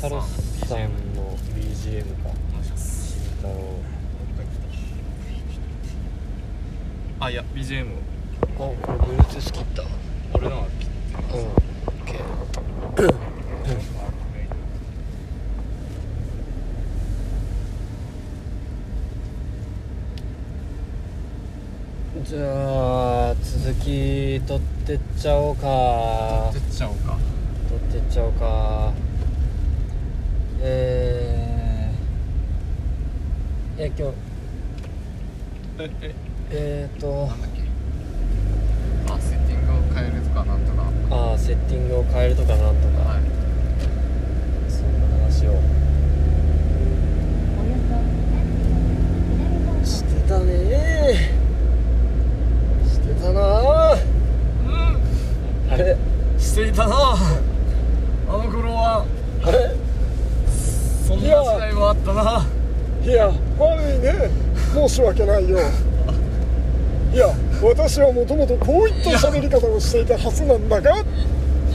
太郎さんの BGM かお願いします慎太郎あいや BGM をあこれ Bluetooth 切った俺のは切っうん OK じゃあ続き取ってっちゃおうかてっちゃおうか取ってっちゃおうかえー、いや今日えええーとなんだっけあセッティングを変えるとかなんとかはああセッティングを変えるとかなんといか、そんな話をしてたねしてたなああれしていたなあの頃はあれそんな時代もあったないや悪いね申し訳ないよいや私はもともとこういった喋り方をしていたはずなんだが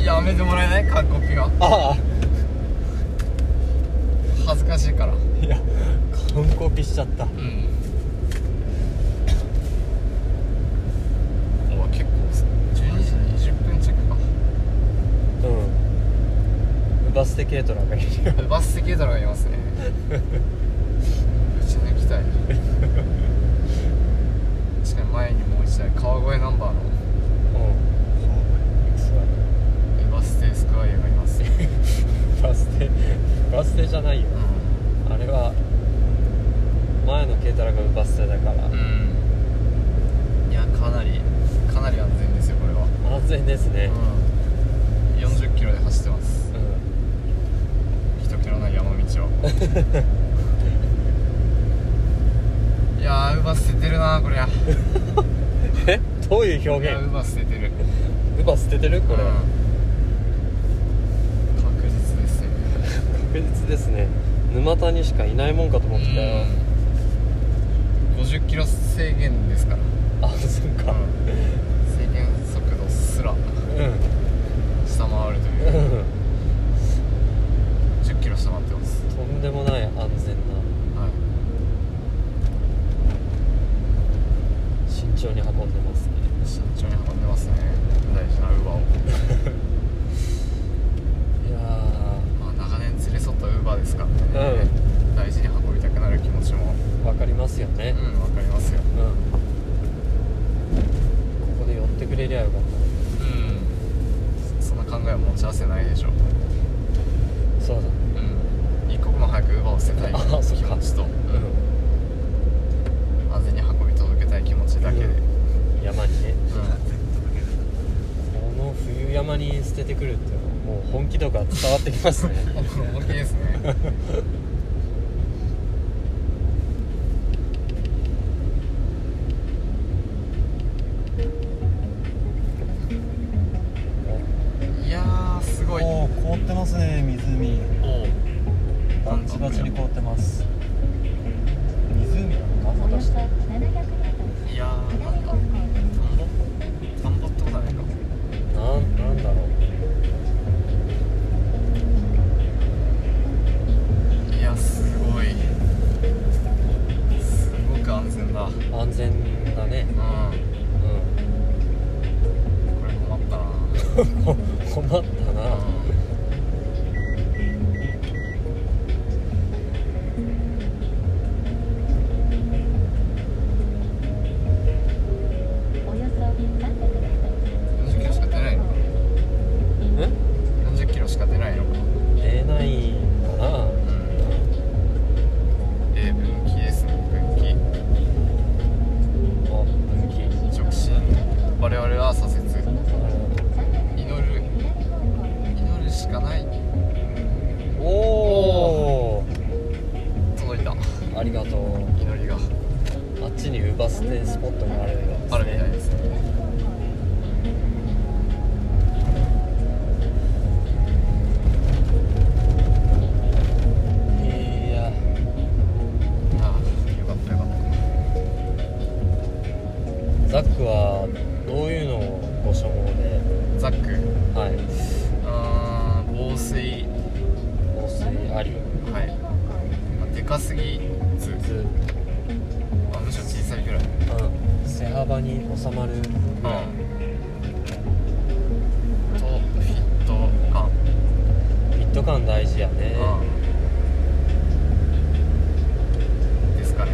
やめてもらえないカンコピがあ恥ずかしいからあいや完コピしちゃったうんお結構12時20分チェックかうんバステケイトなんかいるよバス席ドラがいますねうち抜きたい確かに前にもう一台川越ナンバーのうんバス停スクワイアがいます、うん、バス停バス停じゃないよあれは前の軽トラがバス停だからうんいやかなりかなり安全ですよこれは、安全ですねうん、40キロで走ってますうん人気のない山道 をいやーウバス捨ててるなこりゃえどういうい表や現ウバス捨ててるウバ捨ててるこれ、うん確実ですよ確実ですね沼田にしかいないもんかと思ってたよ50キロ制限ですからあそっか制限速度すらう下回るとん、 いう10キロ下回ってますとんでもない安全なはい慎重に運んでますね慎重に運んでますね大事なウーバーをいやまあ長年連れ添ったウーバーですからね、大事に運びたくなる気持ちもーわかりますようねんわかりますようん、ここで寄ってくれりゃよかっうんそんな考えは持ち合わせないでしょうたそうだうん一刻も早くウーバーを捨てたい あそっ気か持ちと、うん安全に運び届けたい気持ちだけで、ううんん山にねこの冬山に捨ててくるっていうのはもう本気度が伝わってきますね本気ですね いやーすごい おお凍ってますね湖バなんッかチバチに凍ってます湖なのか私といやーなんか田んぼ田んぼってことはないかなんなんだろういやすごいすごく安全だうんこ安全だねうれ困ったなん困ったな40キロしか出ないのかえ40キロしか出ないのか出ないかなうんえー、分岐ですね分岐あ分岐直進我々は左折祈る祈るしかないおお届いたありがとう祈りがあっちにウバス停スポットがあるようです、ね、あるみたいですねいやああよかったよかったザックはどういうのをご所望でザックはいうーん防水防水ありはい、まあ、でかすぎず、ずうんまあ、むしろ小さいぐらい、背幅に収まるぐらいとフィット感、フィット感大事やねうんですかね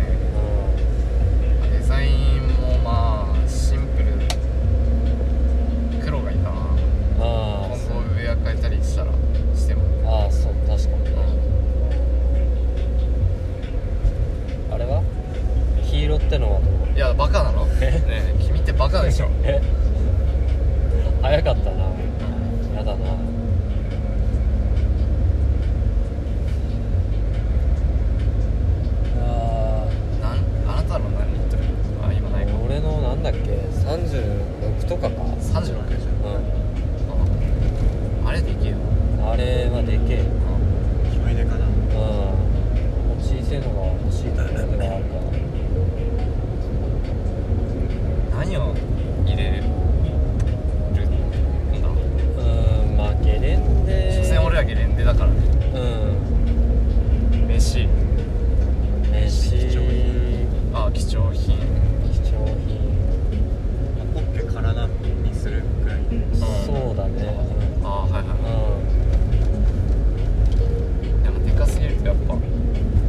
うデザインもまあシンプル黒がいいかなんあ今あ後ウェア変えたりしたらしても、ああそう確かうにん、あれは黄色ってのはどういやバカ なのねえ君ってバカでしょえ早かったなやだなあなんあなたの何リットルあ今ないかー俺のなんだっけ36とかか36でしょうあれできるよんあれはでけえ広いでかなうんもう小さいのが欲しいところではあるから何を入れるんだろううーんまあゲレンデ所詮俺らゲレンデだからねうん飯飯貴重あ貴重品貴重品ほっぺ体にするくらいそうだねあはいはいうんはうんいでもでかすぎるとやっぱ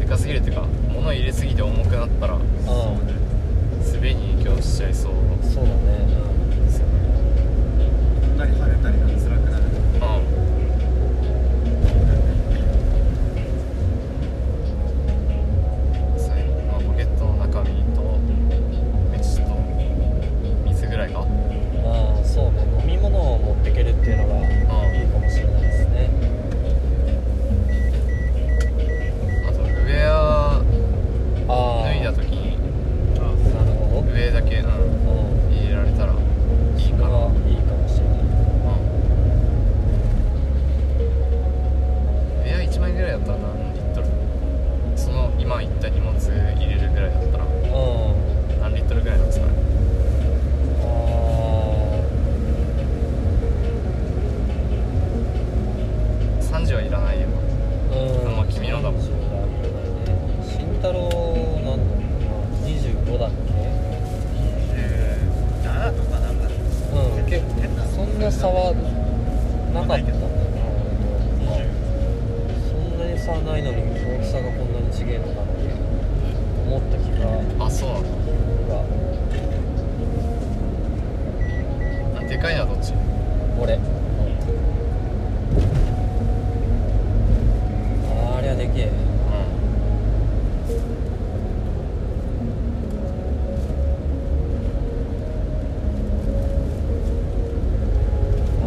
でかすぎるっていうか物入れすぎて重くなったらあそうね滑りに影響しちゃいそうあそうだねですよね飛んだり跳ねたりが辛くなるうん最後まあポケットの中身と飯と水ぐらいかうんまあそうね飲み物を持ってけるっていうのがいいかもしれないですねあとウェアああ脱いだ時にあなるほど上だけ、うん、うん入れられたらいいそかれな、うん、はいいかもしれないウェア1枚ぐらいだったら何リットルその今言った荷物入れるぐらいだったらうん何リットルぐらいなんですかねあ30はいらないよあうんまあ君のだもんそうだね慎太郎なんだろうな25だっけ27とかなんかうん結変な構そんな差はなかったんだなうんそんなに差ないのに大きさがこんなに違えのかなって思った気があそうなんだあでかいのはどっち俺あれはでけえう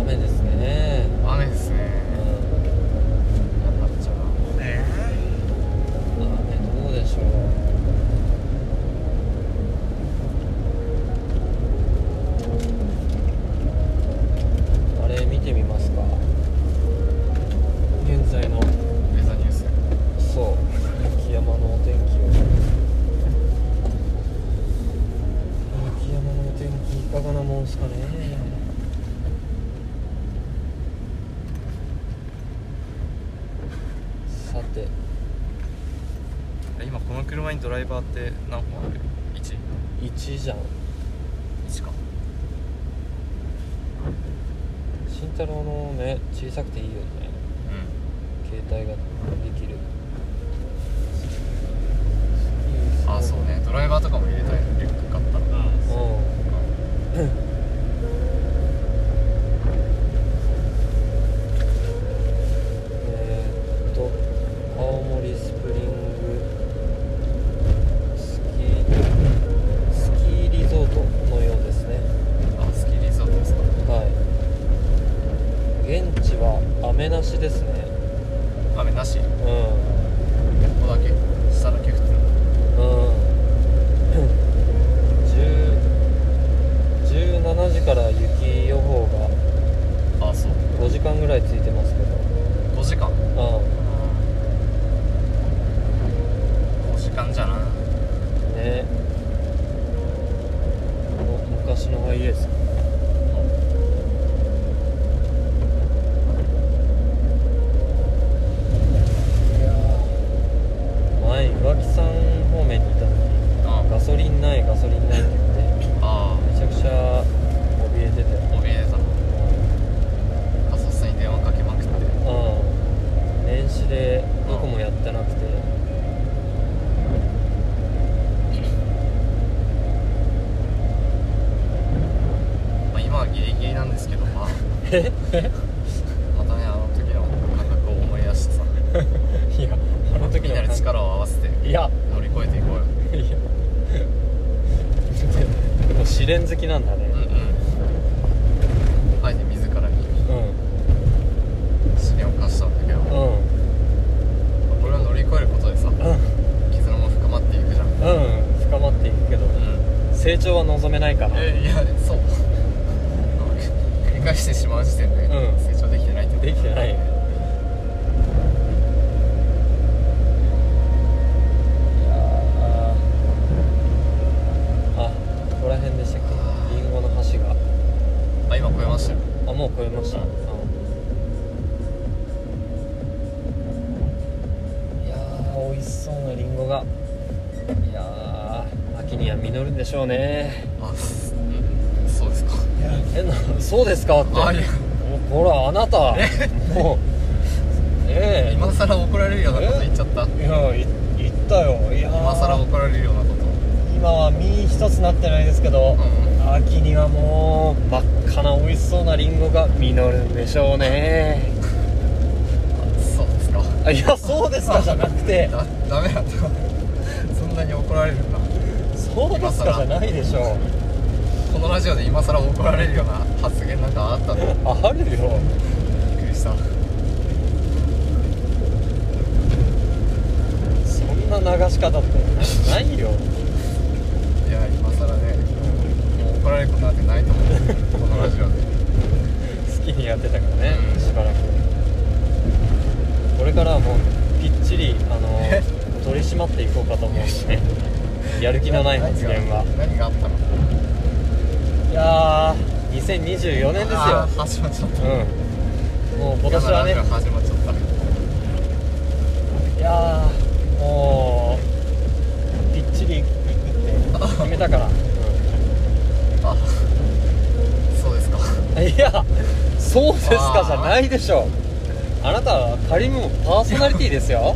雨ですねん雨ですねうんやっぱじゃ20ね雨どうでしょうあれ見てみますか現在のあウェザーニュースそう雪山のお天気を雪山のお天気いかがなもんすかねさてえ今この車にドライバーって何本ある ?1? 1じゃん1か慎太郎の目小さくていいよねう携帯ができるんあそうねドライバーとかも入れたいリュック買ったらあうんえーっと青森スプリングスキースキーリゾートのようですねあスキーリゾートですかはい現地は雨なしですね雨なしうここだけ下だけ降ってるんうん 10 17時から雪予報があそう5時間ぐらいついてますけ5時間どうん5時間じゃなねこの昔のハイエースこ えまたねあの時の感覚を思い出してさいやあの時みんのなで力を合わせていや 乗り越えていこうよいやでも試練好きなんだねうんうんあえて自らにう試練を課したんだけど、んうんこれを乗り越えることでさう絆も深まっていくじゃんうんんうん深まっていくけど成長は望めないからえいやそう繰り返してしまう時点で、うん成長できてないってことできてないよいやーあここら辺でしたっけリンゴの橋があ今超えましたよあもう超えました、いやー美味しそうなリンゴがいやー秋には実るんでしょうねあすうんそうですかえなそうですかってあいやおほらあなたもうええ 今更怒られるようなこと言っちゃったいやい言ったよいやー今更怒られるようなこと今は実一つなってないですけど、う秋にはももう真っ赤な美味しそうなリンゴが実るんでしょうねそうですかあいやそうですかじゃなく てだダメだったそんなに怒られるんだそうですかじゃないでしょうこのラジオで今更怒られるような発言なんかあったのびっあるくよりしたそんな流し方ってないよいや今更ねもう怒られることなんてないと思うこのラジオで好きにやってたからねうんしばらくこれからはもうぴっちりあの 取り締まっていこうかと思うんでねやる気のない発言は何があったのいやー2024年ですよあー始まっちゃったうんもう今年はね嫌なラジオ始まっちゃったいやーもうぴっちり行くって決めたから、あそうですかいやそうですかじゃないでしょあなたは仮にもパーソナリティですよ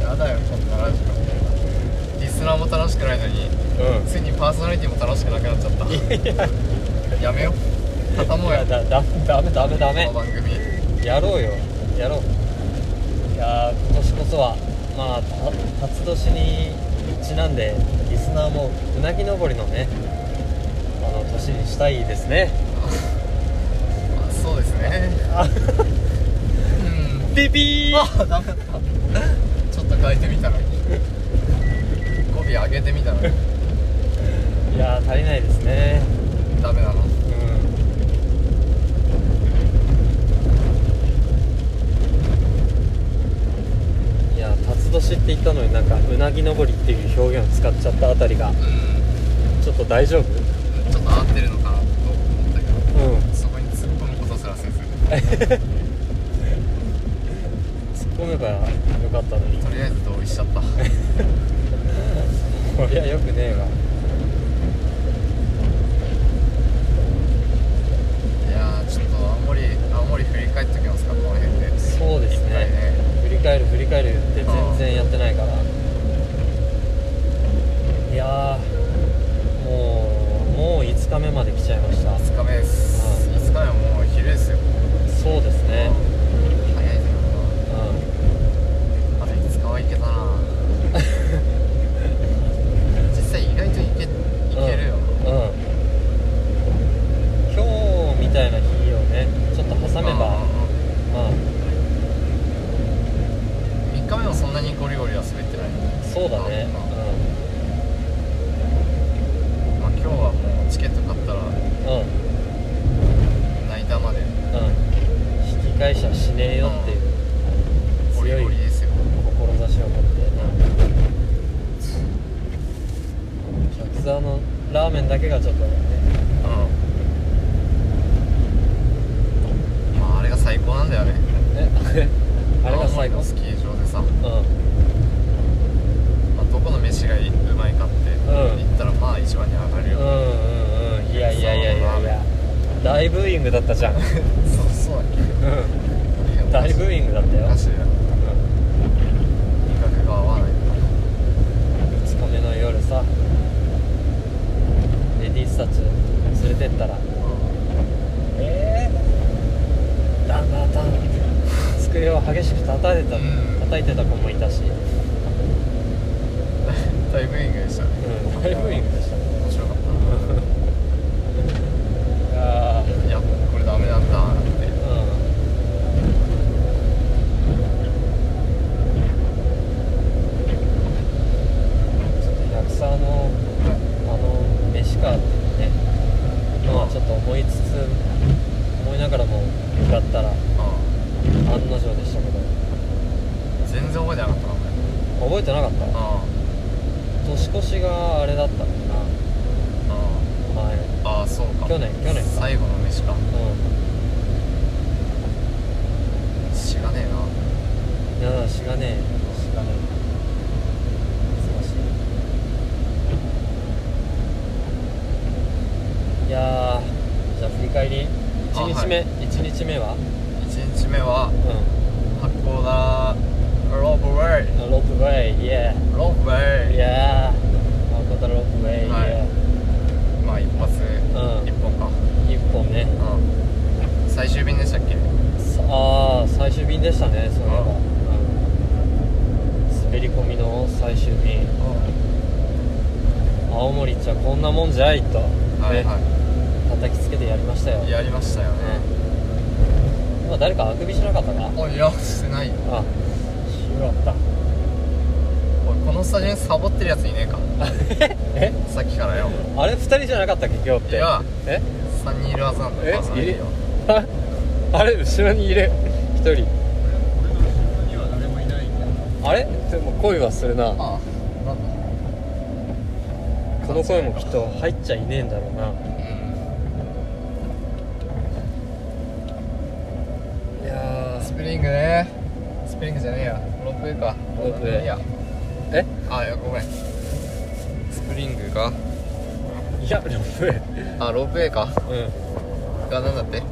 やだよこんなラジオリスナーも楽しくないのにうついにパーソナリティも楽しくなくなっちゃったいややめよう畳もいうよやだだダメダメダメこの番組やろうよやろういやー今年こそはまあた辰年にちなんでリスナーもうなぎ登りのねあの年にしたいですねあそうですねあうんピピーあダメだったちょっと変えてみたのに語尾上げてみたのにいやー足りないですねダメなのいや辰年って言ったのになんかうなぎ登りっていう表現を使っちゃったあたりがうんちょっと大丈夫ちょっと合ってるのかなと思ったけどうんそこに突っ込むことすらせず突っ込めばよかったのにとりあえず同意しちゃったこりゃよくねえわいやーちょっと青森青森振り返っておきますかこの辺でそうです一回ねね振り返る振り返るって全然やってないからいやーもうもう5日目まで来ちゃいました5日目ですうん5日目はもう昼ですよそうですね早いけうどんなあと5日はいけたな実際意外といけいけるようん、今日みたいな日をねちょっと挟めばまあ3日目もそんなにゴリゴリは滑ってない、そうだねまあ、今日はもうチケット買ったらうんうん泣いたまでうん引き返しはしねえよっていうゴリ強いゴリですよ志を持って、うん、客沢のラーメンだけがちょっとねうんまああれが最高なんだよねねあれが最青森高のスキー場でさ、うまあ、どこの飯がいうまいかってん言ったらまあ一番に上がるんよ、うんうんうんいやいやいやいやいや大ブーイングだったじゃん、うん、 そうそうだっけ大ブーイングだったよおかしいなうん味覚が合わない2日目の夜さレディースたち連れてったらえー、ダンダンダンって机を激しく叩いてた、うん叩いてた子もいたし、う大ブーイングでしたねん、大ブーイングでしたね面白かっいやた いやこれダメなんだってーうんちょっと百沢のあの飯かっていうねのはちょっと思いつつ思いながらも向かったら案あの定でしたけどあ全然覚えてなかったなこれ覚えてなかったあ年越しがあれだったのかああな前ああそうか去年去年か最後の飯かう知らねえなんいやだしがねえしがねえ難しいいやーじゃあ振り返りあ1日目、はい一日目は1日目はう八甲田ロープウェイんロープウェイイエロープウーェイイエーマコタロープウェイイエはいまあ一発、ん一本かーイ1本ねうん最終便でしたっけさあー最終便でしたねそれあは、うん、滑り込みの最終便青森っちゃこんなもんじゃいと、はいねは叩きつけてやりましたよいやりましたよねうん今誰かあくびしなかったかおいいやしてないよあしよかっおいこのスタジオにサボってるやついねえかたえさっきからよあれ2人じゃなかったっけ今日っていやえ3人いるはずなんだえまあい三る人よああれ後ろにいる1人俺の後ろには誰もいないんだあれでも声はするなああなんだこの声もきっと入っちゃいねえんだろうないやスプリングねスプリングじゃねえやロープウェイかロープウェイいやーえあいやごめんスプリングかいやロープウェイあロープウェイかうんがなんだって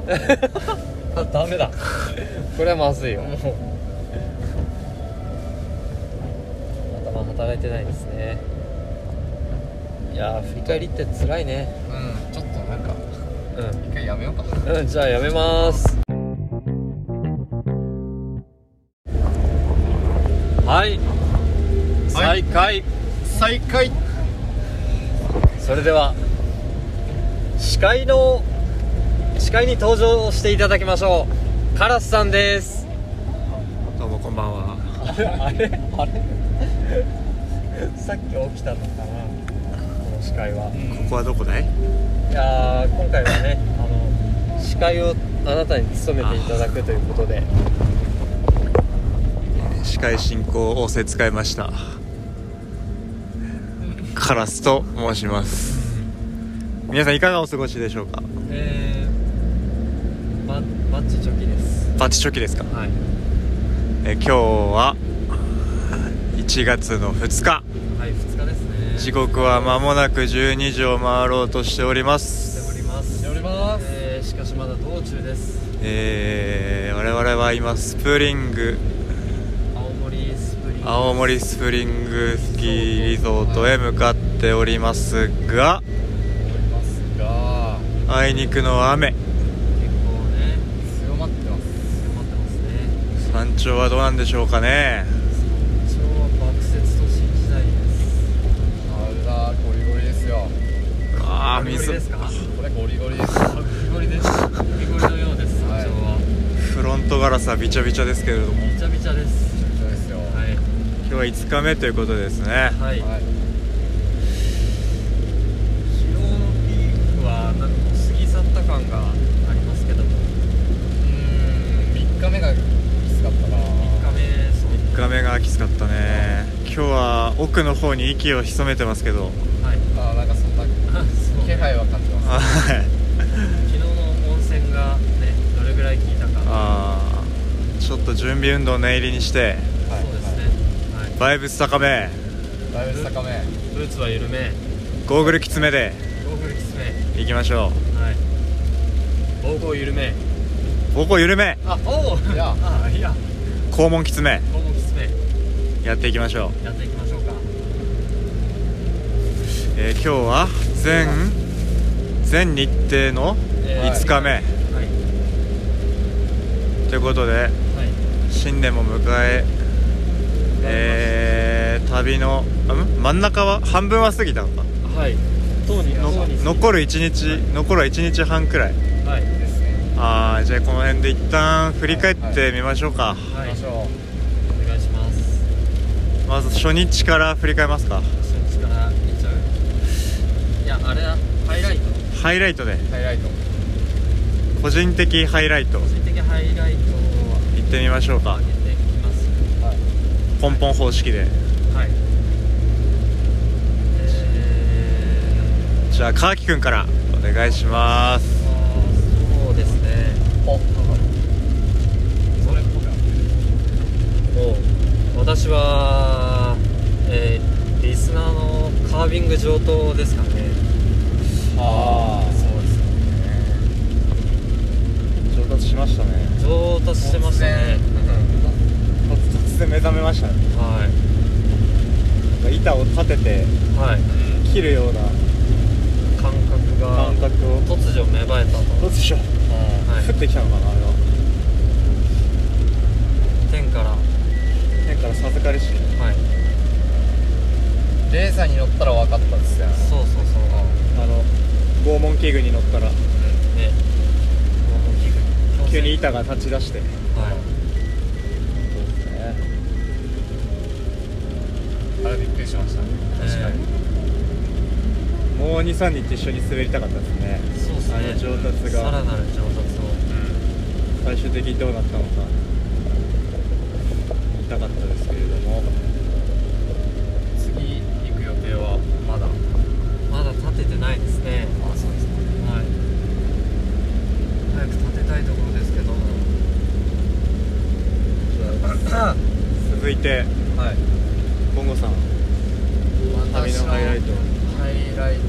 あダメだ これはまずいよもう頭働いてないですねいやー振り返りって辛いねうんちょっとなんかう一回やめようかん、うん、じゃあやめますはいはい再開、再開それでは司会の司会に登場していただきましょうカラスさんですどうもこんばんはあれあれあれさっき起きたのかなこの司会はここはどこだいいやー今回はねあの司会をあなたに務めていただくということで司会進行仰せ使いましたカラスと申します皆さんいかがお過ごしでしょうかえー、ママッチチョキですバッチチョキですかはいえ今日は1月の2日はい2日ですね時刻は間もなく12時を回ろうとしておりましておりすますしております、えー、しかしまだ道中ですえー、我々は今スプリング青森スプリング青森スプリングスキーリゾートへ向かっておりますがますがあいにくの雨結構ね強まってます強まってますね山頂はどうなんでしょうかね一応は爆雪都心時代ですあらゴリゴリですよああゴリゴリですかこれゴリゴリですゴリゴリですゴリゴリのようです山はい頂は、フロントガラスはびちゃびちゃですけれどもびちゃびちゃですそうですよはい今日は5日目ということですねはい、はい疲労のピークはなんかもう過ぎ去った感がありますけどもうーん3日目がきつかったな3日目そう3日目がきつかったね今日は奥の方に息を潜めてますけどはいあーなんかそんな あそう気配は感じますはい昨日の温泉がねどれぐらい効いたかあーちょっと準備運動念入りにしてはいそうですねはいバイブス高めだいぶ高めブーツは緩めゴーグルきつめでゴーグルきつめいきましょはい膀胱緩めう膀胱緩めあおおいや あいや肛門きつめ膀胱きつめやっていきましょう、やっていきましょうかえー今日は全全日程のえー5日目、はいということではい新年も迎ええー、旅のん真ん中は半分は過ぎたのかはいとうにのとうに残る1日、残るは1日半くらいはいですねあーじゃあこの辺で一旦振り返ってみましょうか、はい行きましょうお願いしますまず初日から振り返りますか初日から見ちゃういやあれだハイライトハイライトでハイライト個人的ハイライト個人的ハイライトを行ってみましょう上かげていきます根本方式ではいえじゃあ川木くんからお願いしますーあーそうですねあそれっぽくなってるもう私は、えーリスナーのカービング上等ですかねああそうですね上達しましたね上達してましたね突然目覚めましたねは板を立てていはい切るような感覚が覚を突如芽生えたと、どうでしょうはい降ってきたのかなあれは天からは天から授かりしいレーザーに乗ったら分かったんですよそうそうそうあの拷問器具に乗ったらねもう器具急に板が立ち出してはいあれびっくりしましたね確かに、もう23日一緒に滑りたかったですねそうですねあの上達がさらなる上達を最終的にどうなったのか痛かったですけれども次行く予定はまだまだ立ててないですねあそうですねはい早く立てたいところですけど続いてはいボンゴさん旅のハイライトハイライト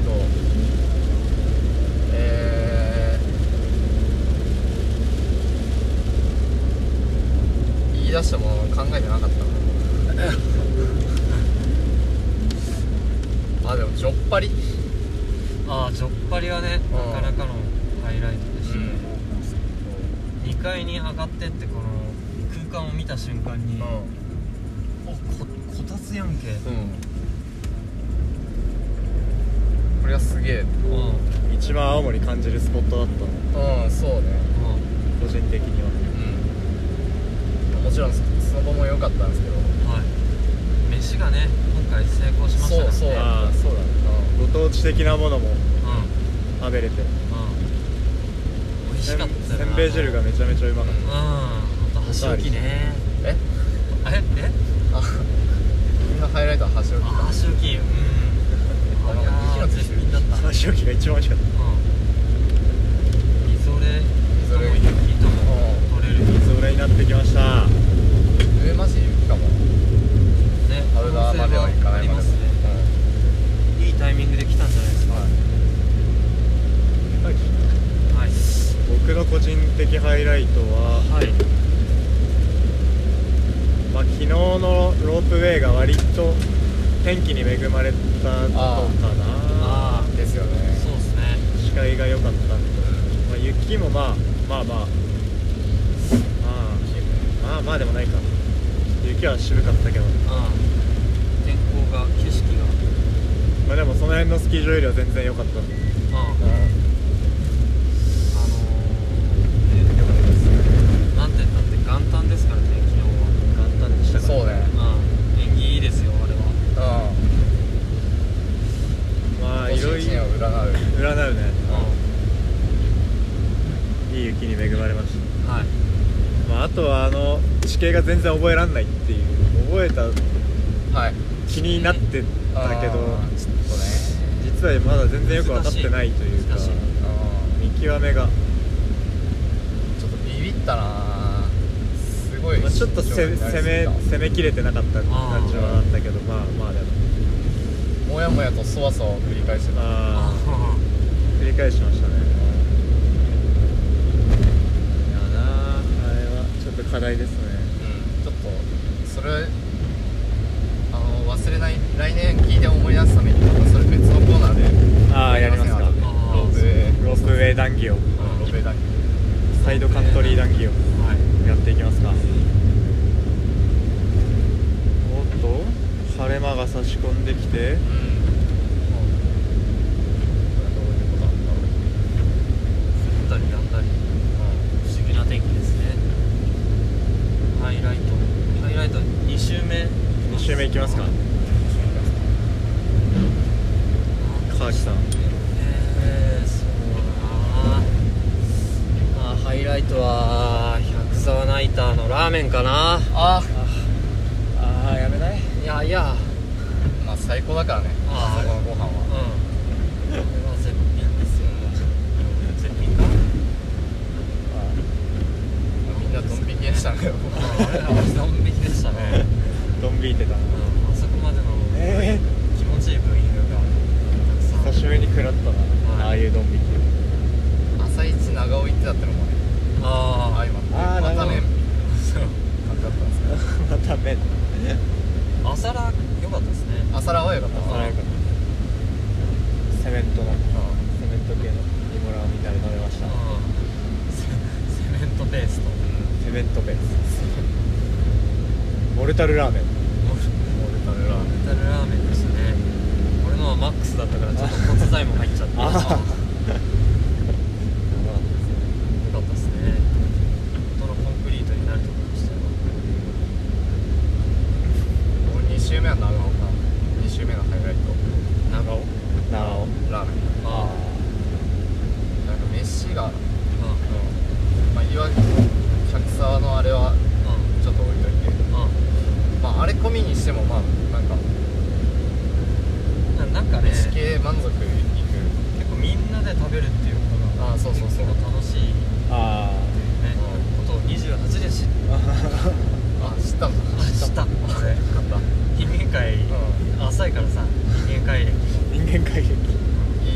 えー言い出したものを考えてなかったなあでもジョッパリああジョッパリはねうなんかなかのハイライトでしたね、2階に上がってってこの空間を見た瞬間に、おここたつやんけこれはすげえうんうん一番青森感じるスポットだったのうんそうね個人的にはうんもちろんスノボも良かったんですけどはい飯がね今回成功しましたからねそうそうああそうだねご当地的なものもう食べれてんうん美味せしんかったよせんべい汁がめちゃめちゃうまかっうんあと箸置きねえええあみんなハイライトは走るあ箸置きうんあのあれは絶品だったた箸置きが一番美味しかっうんみぞれみぞれとも雪とも取れるた水れになってきました上マジ雪かもねアルダーまではいかない可ま能性はありまですねいいタイミングで来たんじゃないですかはい僕の個人的ハイライトは、はいまあ、昨日のロープウェイが割と天気に恵まれたことかなあうんですよあねそうですね視界が良かったんで、まあ、雪もまあまあまあまあまあまあでもないか雪は渋かったけどうん天候が景色がまあでもその辺のスキー場よりは全然良かったんでうんあのーなんて言ったって元旦ですからね昨日は簡単でしたからそうねうん縁起いいですよあれはうまあんいろい1年ろを占う占うねういい雪に恵まれましたんはいまあ、あとはあの地形が全然覚えらんないっていう覚えたはい気になってたけどあーちょっとね実はまだ全然よく分かってないというか難しういん見極めが、ちょっとビビったなすごいまあ、ちょっとせ攻め攻めきれてなかった感じはあったけどまあまあでももやもやとそわそわを繰り返してたあああ繰り返しましたねいやなああれはちょっと課題ですねちょっとそれあの忘れない来年聞いて思い出すためにまたそれ別のコーナーでああやりますかロープウェイロープウェイ談義をロープウェイだけサイドカントリー談義をはいやっっていきますかおっと晴れ間が差し込んできて降ったりやんだり、不思議な天気ですねハイライトハイライト2周目2周目いきますか川木さんえー、そうだなまあハイライトは百沢ナイターのラーメンかなあああやめないいやいやまあ最高だからねああーそこのご飯うんはこれは絶品ですよ 絶品かみんなドン引きでしたねあれはドン引きでしたね、ドン引いてたうん、あそこまでのえ気持ちいいブーイングがたくさん久しぶりに食らったな、はいああいうドン引き朝一長尾行ってたってのもねあああ今あーま長た尾ねそう感じだったんですけど あ また麺朝ラ良かったですね朝ラーは良かったあななんかセメントのセメント系のイモラーみたいなの食べましたうんセセメントペーストセメントベースモルタルラーメンモルタルラーメンタルラーメンでしたね俺のはマックスだったからちょっと骨材も入っちゃってあよかっやばかったですたでねすね本当のコンクリートになるとこでしたよ俺2周目は長尾か2周目のハイライト長尾なおラーメンあなんか飯があまあいわゆる百沢のあれはうちょっと置いといてんうんまああれ込みにしてもまあなんかうんななんかね飯系満足いく結構みんなで食べるっていうことがあーそうそうそう結構楽しい、ね、あことを28で知っあ知ったんだ知った俺 人間界浅いからさ人間界歴ー 人間界胃劇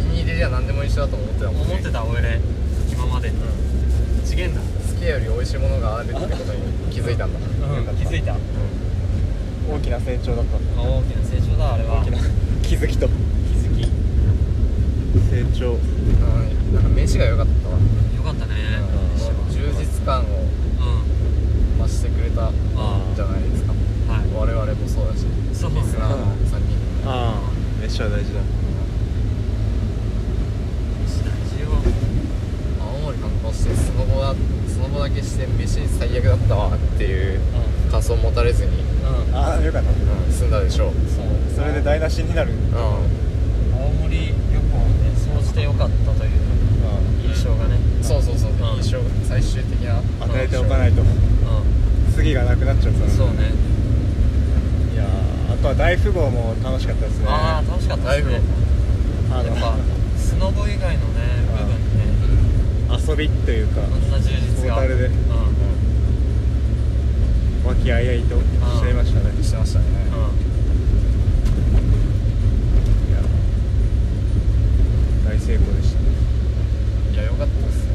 に入れりゃ何でも一緒だと思ってたもんね思って好た俺今まで次元だきより美味しいものがあるってことに気づいたんだ気づいたあ大きな成長だったんだ大きな成長だあれは大きな気づきと気づきよ成長うんなんか飯が良かったわかったね充実感をうん増してくれたんじゃないですかは我々もそうだしいそうリスナーの3人ああ飯は大事だ飯大事よ青森観光してスノボだスノボだけして飯最悪だったわっていう感想を持たれずに、うんうんああよかったうん、済んだでしょうそうそれで台無しになるうんうん青森旅行ね総じてよかったという印象がねそうそうそう、うん印象最終的な与えておかないとう次がなくなっちゃうかんらそうねいやーあとは大富豪も楽しかったですねああ楽しかったですねあやっぱスノボ以外のね部分ねの遊びというかこんな充実がトータルでうんうん和気あいあいとしていましたねしてましたね、いや大成功でしたねいや良かったですよね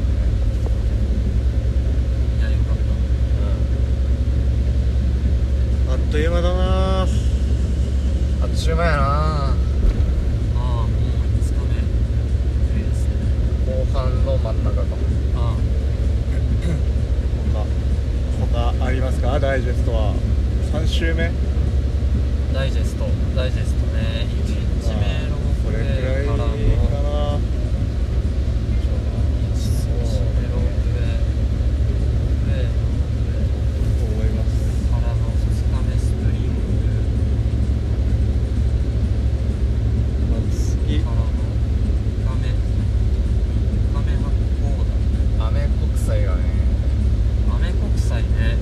いやよかっあっという間だあなーっちゅう間やなたああもう5日目いいですね後半の真ん中かもあ他他ありますかダイジェストは3週目あダイジェストダイジェストね1日目のこれくらいかからもなそうメロンプレーと思いますからの2日目スプリンまあ次グからの3日目3日目発行アメ国際がねだアメ国際ね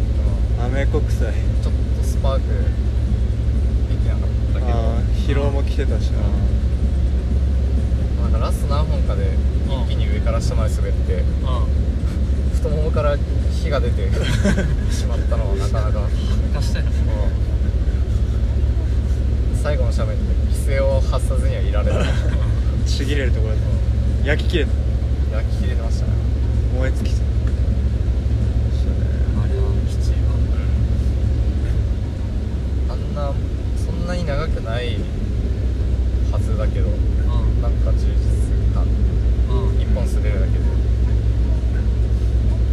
アメ国際ちょっとスパークできなかったけどあー疲労も来てたしななんかラスト何本かで一気に上から下まで滑って、う太ももから火が出てしまったのはなかなか、ん貸したよ最後の斜面で規制を発さずにはいられないちぎれるところで焼き切れた焼き切れてましたね燃え尽きたあれは吉はあんなそんなに長くないはずだけどうなんか充実感んうん一本滑るだけで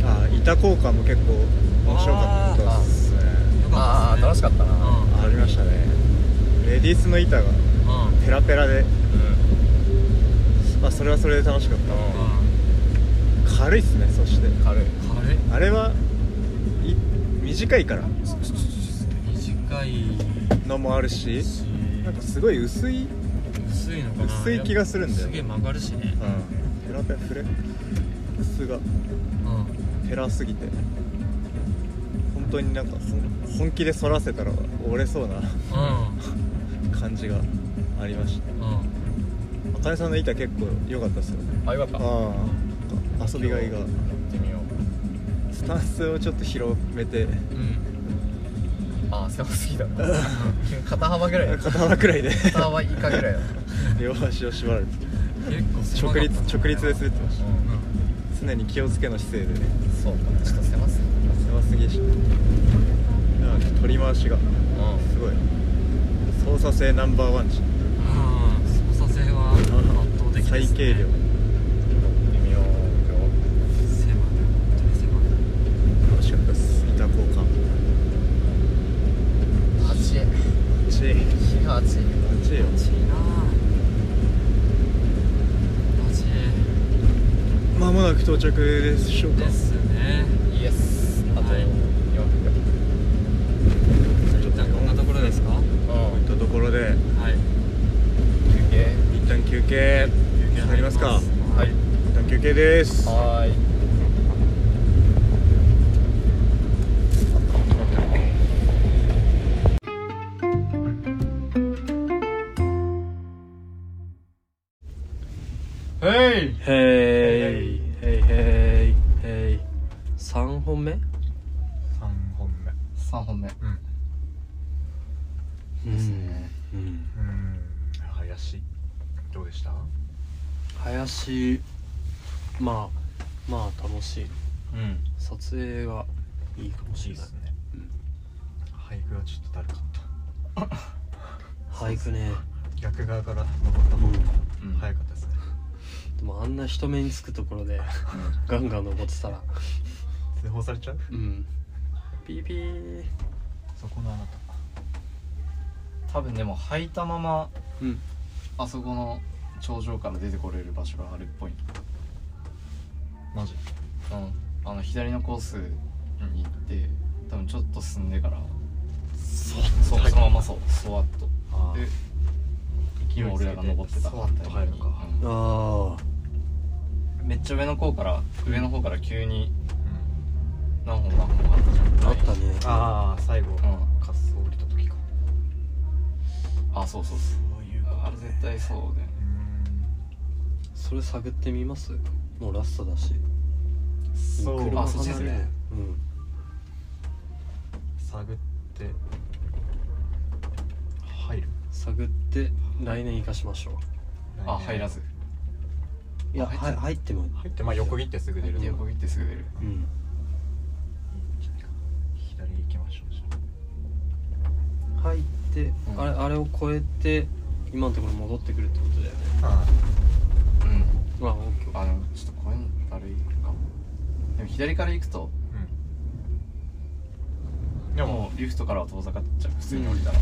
あー板交換かも結構面白かったっすねよかああった楽ですしねかったなううんんありましたねレディースの板がうんペラペラで、まあ、それはそれで楽しかった軽いっすねそして軽い軽いあれはい短いから短いのもあるししなんかすごい薄い、薄いのかな薄い気がするんだよすげえ曲がるしねペラペラフレ薄がうんペラすぎて本当になんかその本気で反らせたら折れそうなう感じがありましたんうんあかねさんの板結構良かったっすよねあよかったやああ遊びがいがってみようスタンスをちょっと広めてうんああ狭すぎだな肩幅ぐらいだ肩幅くらいで肩幅以下ぐらいだな両足を縛る結構狭か直った立直立で滑ってましたうん常に気をつけの姿勢でねそうかちょっと狭すぎ狭すぎでしたなんか取り回しがうすごい操作性ナンバーワンじうん操作性は圧倒的です最ね軽量ん微妙狭い本当に狭い楽しかったです板交換8へ8位日が8位8位よマジいいなマジまもなく到着でしょうかですねイエスあとはい4分じゃあ一旦こんなところですかはといったところでい休憩一旦休憩休憩入りますかはい一旦休憩ですはーいはいへいへいへいへい3本目3本目3本目うん、うん、うん林どうでした林まあまあ楽しいうん撮影がいいかもしれないね俳句はちょっとだるかった俳句ね逆側から登った方が早かったですね、でもあんな人目につくところでガンガン登ってたら通報されちゃううんピーピーそこのあなた多分でも履いたままうんあそこの頂上から出てこれる場所があるっぽいマジうんあの左のコースに行って多分ちょっと進んでからそうそのままそうそわっとあで今俺らが登ってたそうなんだ入るのかうんああめっちゃ上の方から上の方から急に何本も何本もあったじゃんあったねああ最後うん滑走降りた時かあそうそうそうそういうあれ絶対そうだよねそれ探ってみますもうラストだしそう車あそっちですね離れないうん探って入る探って来年生かしましょあ入らずういやは入って入っても入ってまあ横切ってすぐ出るで横切ってすぐ出るうん左行きましょうじゃ入って、うんあれあれを越えて今のところ戻ってくるってことだよねああうんまあ OK あでもちょっとこういうの歩いるかもでも左から行くとででももうリフトからは遠ざかっちゃう普通に降りたら、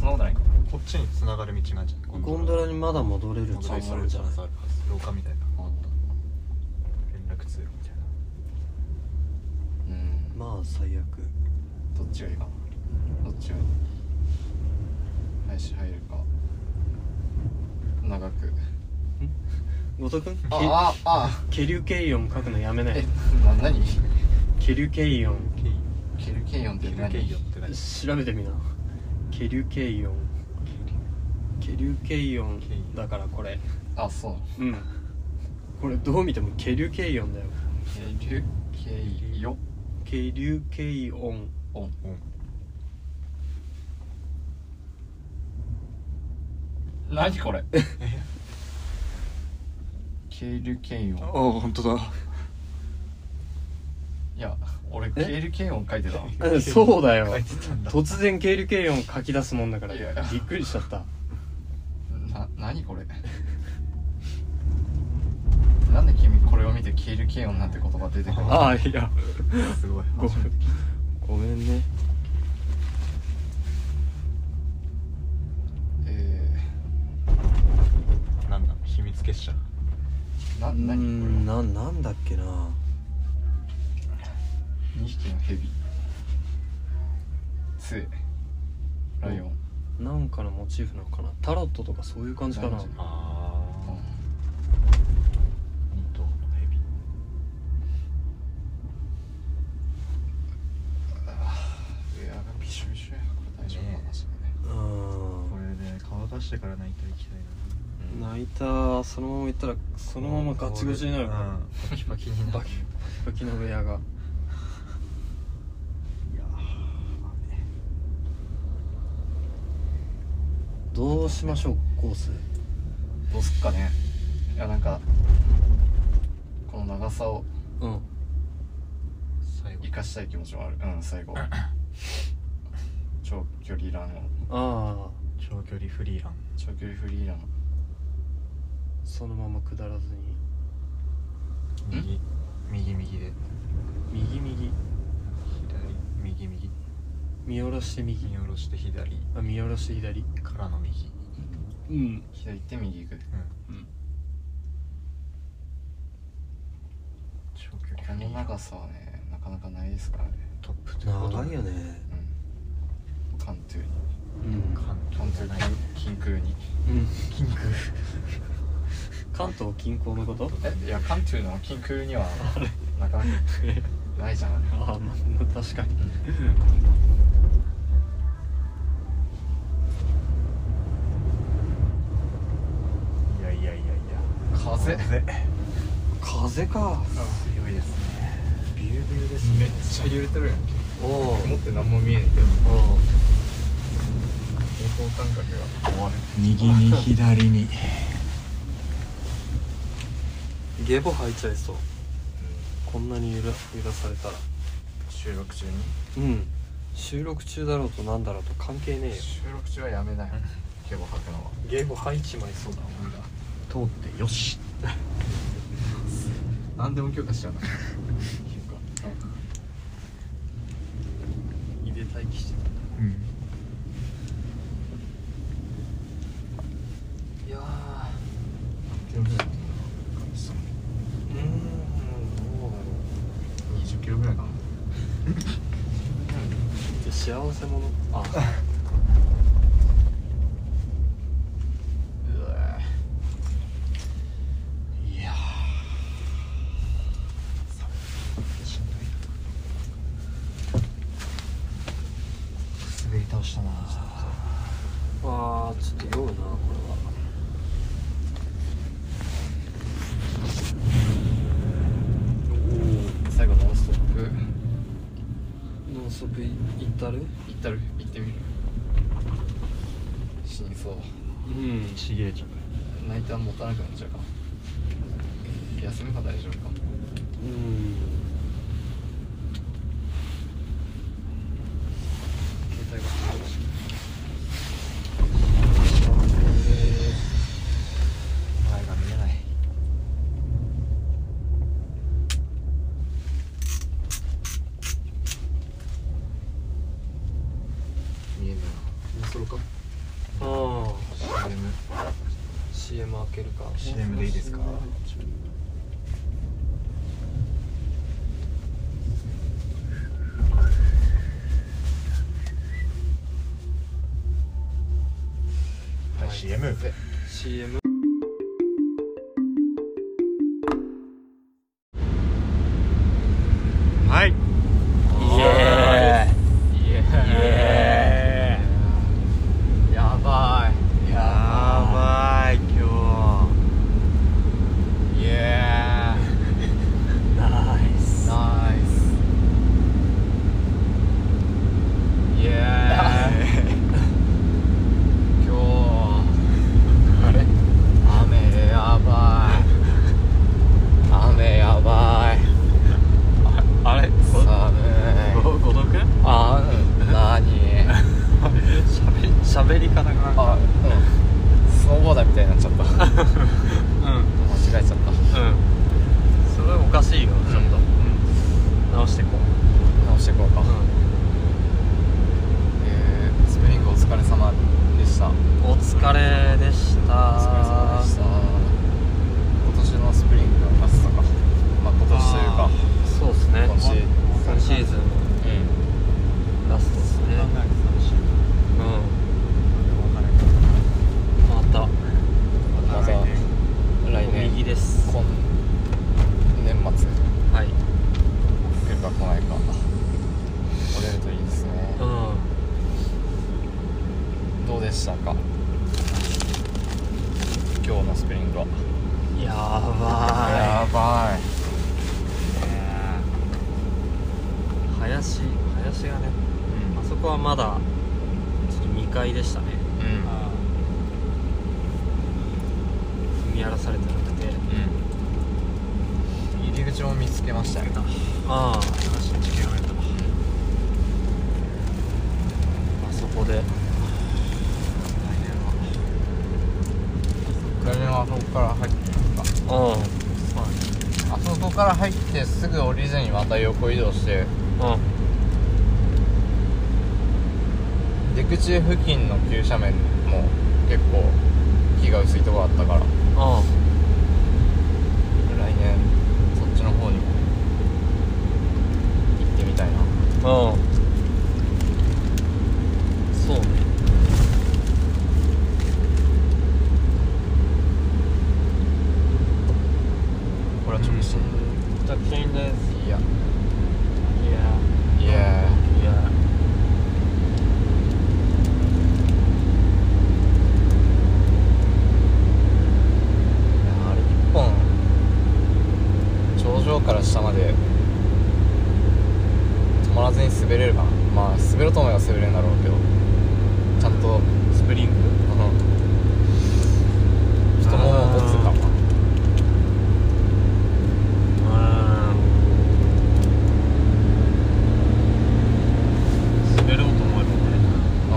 そんなことないかこっちに繋がる道があるじゃんゴンドラにまだ戻れるチ戻ャれンスあそうるんじゃないチャンスあるはず廊下みたいなあった連絡通路みたいなうんまあ最悪どっちがいいかなどっちがいい林入るか長く後藤君けあああケリュケイオン書くのやめなえいな何ケリュケイオンケイケルケイオンって何ケイよって何調べてみなケリュケイオンケリュケイオンだからこれあそううんこれどう見てもケリュケイオンだよケルケイヨケリュケイオンオン何これ ケルケイオンあ本当だいや俺えケルケイオン書いてたわうん そうだよ書いてたんだ突然ケリュケイオン書き出すもんだからいやいやびっくりしちゃったな何これなんで君君これを見て「ケールケイオン」なんて言葉出てくる ああいやすごいご初めて聞いごめんねたえなんだ秘密結社ー、なうー何これんななんだっけな2匹のヘビ杖ライオンなんかのモチーフなのかなタロットとかそういう感じかな感じあうん2頭のヘビウェアがびしょびしょやこれ大丈夫かな、ねそれねうーこれで乾かしてから泣いたら行きたいん泣いたそのまま行ったらそなのままガチガチになるうんババキバキになるキバキのウェアがいやどうしましょうコースどうすっかねいやなんかこの長さをうん最後生かしたい気持ちもあるうん最後長距離ランをああ長距離フリーラン長距離フリーランそのまま下らずに右右右で右右左右右見下ろして右右下ろして左あ見下ろして左からの右うん左行って右行くうん、うん長距離こフリのーラン長さはねなかなかないですからねトップということ長でいよねうん関東にうん関関東東じゃない近空にうんキング関東近郊のことえいや関東の近空にはな かなかないじゃんあれああまあ確かにいやいやいやいや風風風か強いですねビュービューですめっちゃ揺れてるやんけおお持って何も見えないけどおお方向感覚が終わる右に左にゲボ吐いちゃいそうこんなに揺ら揺らされたら収録中にうん収録中だろうとなんだろうと関係ねえよ収録中はやめなよゲボ吐くのはゲボ吐いちまいそうだ通ってよし何でも許可しちゃうな胃で待機してうんいや20ーうーんどうだろキロぐらいかなうじゃあ幸せ者あうわいや滑り倒したなーあーちょっと酔うなこ最後ノンストップれはノンストップいったる行ったる行ってみる死にそううんちげえじゃん泣いたら持たなくなっちゃうかも休めば大丈夫かもうん携帯が前が見えない見えないなそろかああ CM CM 開けるか CM でいいですかはい CM CM Yeah. 今日あれでしたか今日のスプリングはやばばいい林林がねあそこはまだちょっと2階でしたねうん踏み荒らされてなくてうん入り口も見つけましたよあああそこで来年はあそこから入ってみますかうんあそこから入ってすぐ降りずにまた横移動してうん出口付近の急斜面も結構木が薄いとこあったからうん来年そっちの方にも行ってみたいなうんそうねこれは直進直進ですいやいやいやいやあれ1本頂上から下まで止まらずに滑れるかなまあ滑ろうと思えば滑れるんだろうけどちゃんとスプリング太ももを持つかも滑ろうと思えばねうん、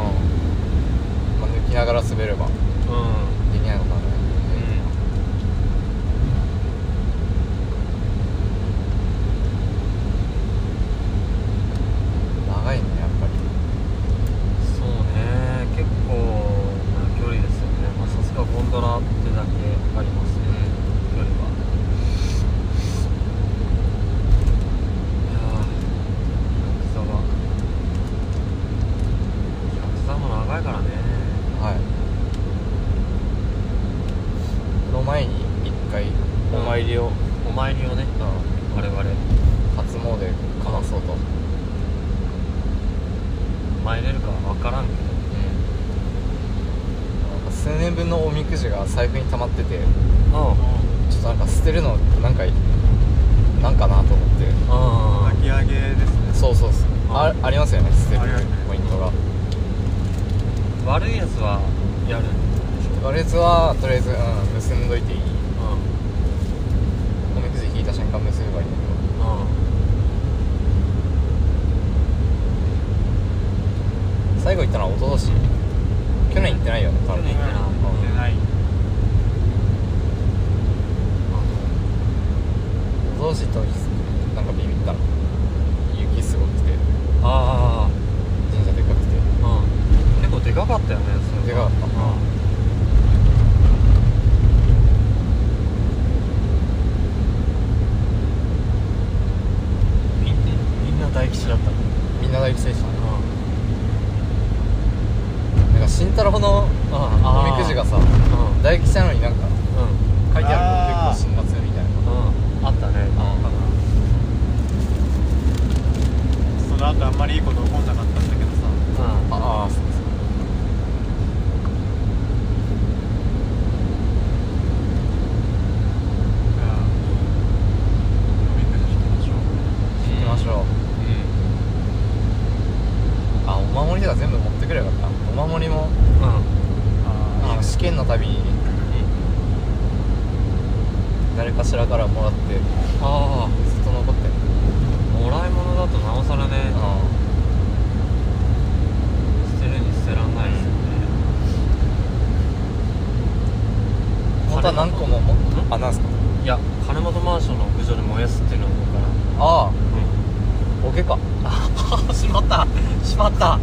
まあ、抜きながら滑ればうできないのかな長いねやっぱりんそうね結構な距離ですよねまあさすがゴンドラってだけありますね、距離はいやー客座が客座も長いからねはいこの前に一回お参りを、お参りをね我々初詣かまそうと、参れるかは分からんけどなんか数年分のおみくじが財布に溜まっててうんちょっとなんか捨てるのなんかなんかなと思ってあ巻き上げですねそうそうそうあありますよね捨てるありますねポイントがあ悪いやつはやる羅列はとりあえず、うん、結んどいていいうんおみくじ引いた瞬間結べばいいんだけうどん最後行ったのは一昨年去年行ってないよね多分去年行ってないうんない一昨年行った時なんかビビったの雪すごくてあ神社でかくてあうん結構でかかったよねそでれかかったうんみんみんな大吉だったうみんな大吉でしたねんなんか慎太郎のあーおみくじがさうん大吉なのになんかう書いてああるーの結構辛辣みたいなんうんあったねその後あんまりいいこと起こんなかったんだけどさうんああそうそうじゃあおみくじ引きましょ行きましょうあお守りとか全部持ってくればよかったお守りもうんうああの試験のたびに誰かしらからもらってあずっと残ってるあもらい物だとなおさらうね捨てるに捨てらんないですよねん本当は何個ももんあなんすかいや金本マンションの屋上で燃やすっていうのを僕からああおけかあ あしまったしまった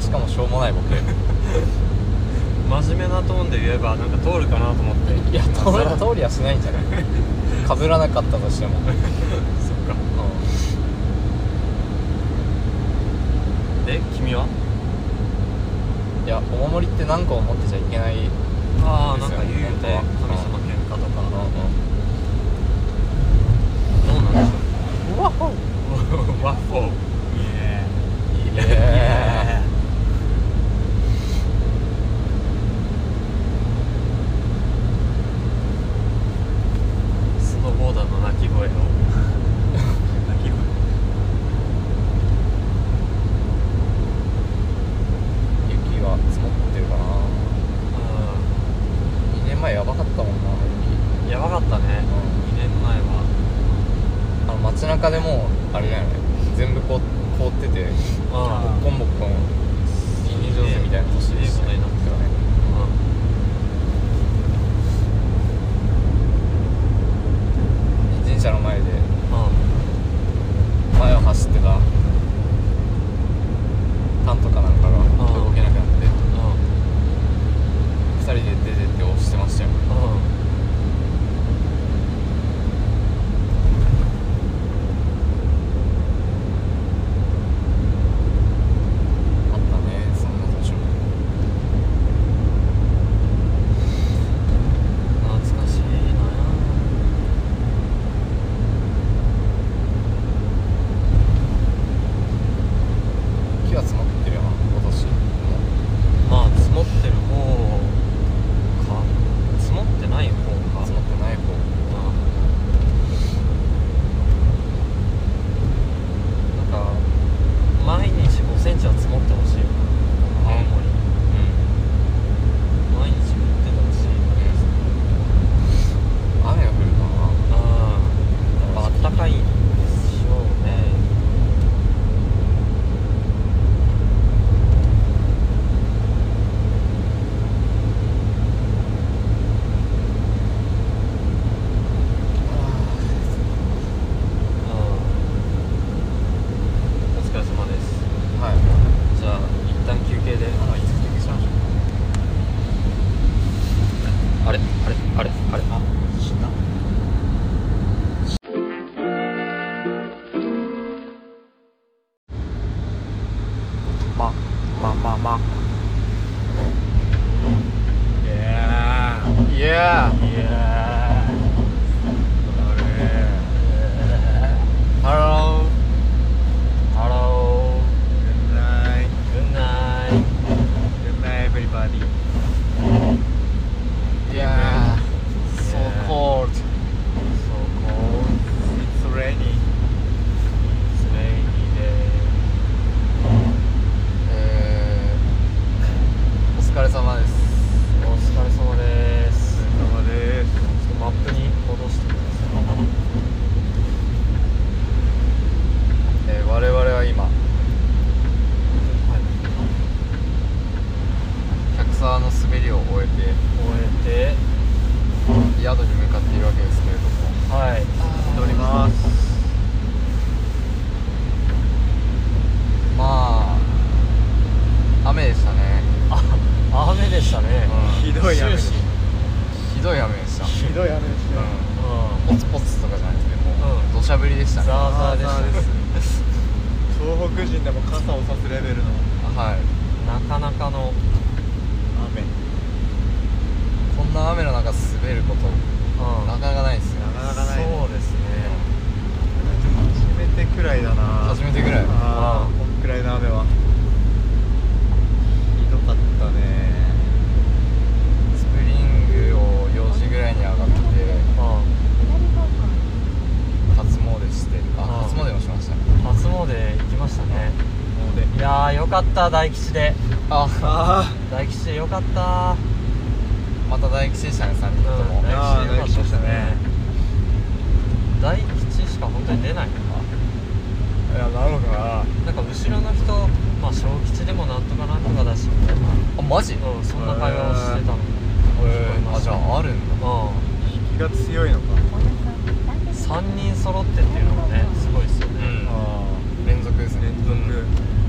しかもしょうもないボケ真面目なトーンで言えばなんか通るかなと思っていや今通更り通りはしないんじゃ ないかぶらなかったとしてもそっかで君はいやお守りって何個も持ってちゃいけないああでなんすよか言うよね本当は神様喧嘩とかうんうんどうなんでしょうワッホーワッホーいいねもあれだよね全部こう凍っててボあッコンボッコン死に上手みたいな年でしたねいいことにあ自転車の前であ前を走ってたタンとかなんかがうん動けなくなってあ2人で出てって押してましたよあああったねそんな年も懐かしいな雪は積もってるよな今年もまあ積もってる方か積もってない方か積もってない方なんかうん毎日5センチは積もってほしいよ青森う毎日降っててほしいん雨が降るかなああやっぱあったかいんでしょうねああお疲れ様ですはいじゃあ一旦休憩であいつ休憩しましょうあれあれあれあれあ死んだままままいやーいやーハローハローグッナイいやー so Yeah. cold So cold It's raining It's rainy day えー、お疲れ様ですお疲れ様ですお疲れ様ですちょっとマップに戻してくださいえー我々は今客沢の滑りを終えて終えて宿に向かっているわけですけれどもはい乗りますまあ雨でしたねあ雨でしたね、うんひどい雨終始ひどい雨でした、うひどい雨ですねん、ポうツポツとかじゃなくてもうんう土砂降りでしたんねザーザーでしたね東北人でも傘を差すレベルのはいなかなかの雨こんな雨の中滑ることうんなかなかないですよなかなかないねそうですね初めてくらいだな初めてぐらいああこんくらいの雨はひどかったねスプリングを4時ぐらいに上がってう初詣してああ初詣もしましたん初詣行きましたねもうでいやーよかった大吉でああ大吉でよかったまた大吉でしたね3人とうもん大吉でよかったですねあ大吉しか本当に出ないのかあいやなのかななんか後ろの人まあ小吉でもなんとかなんとかだしみたいなあマジうんそんな会話をしてたの聞こえまあしじたゃああるんだうん気が強いのか3人揃ってっていうのもねすごいですよね、あ連続ですあね連続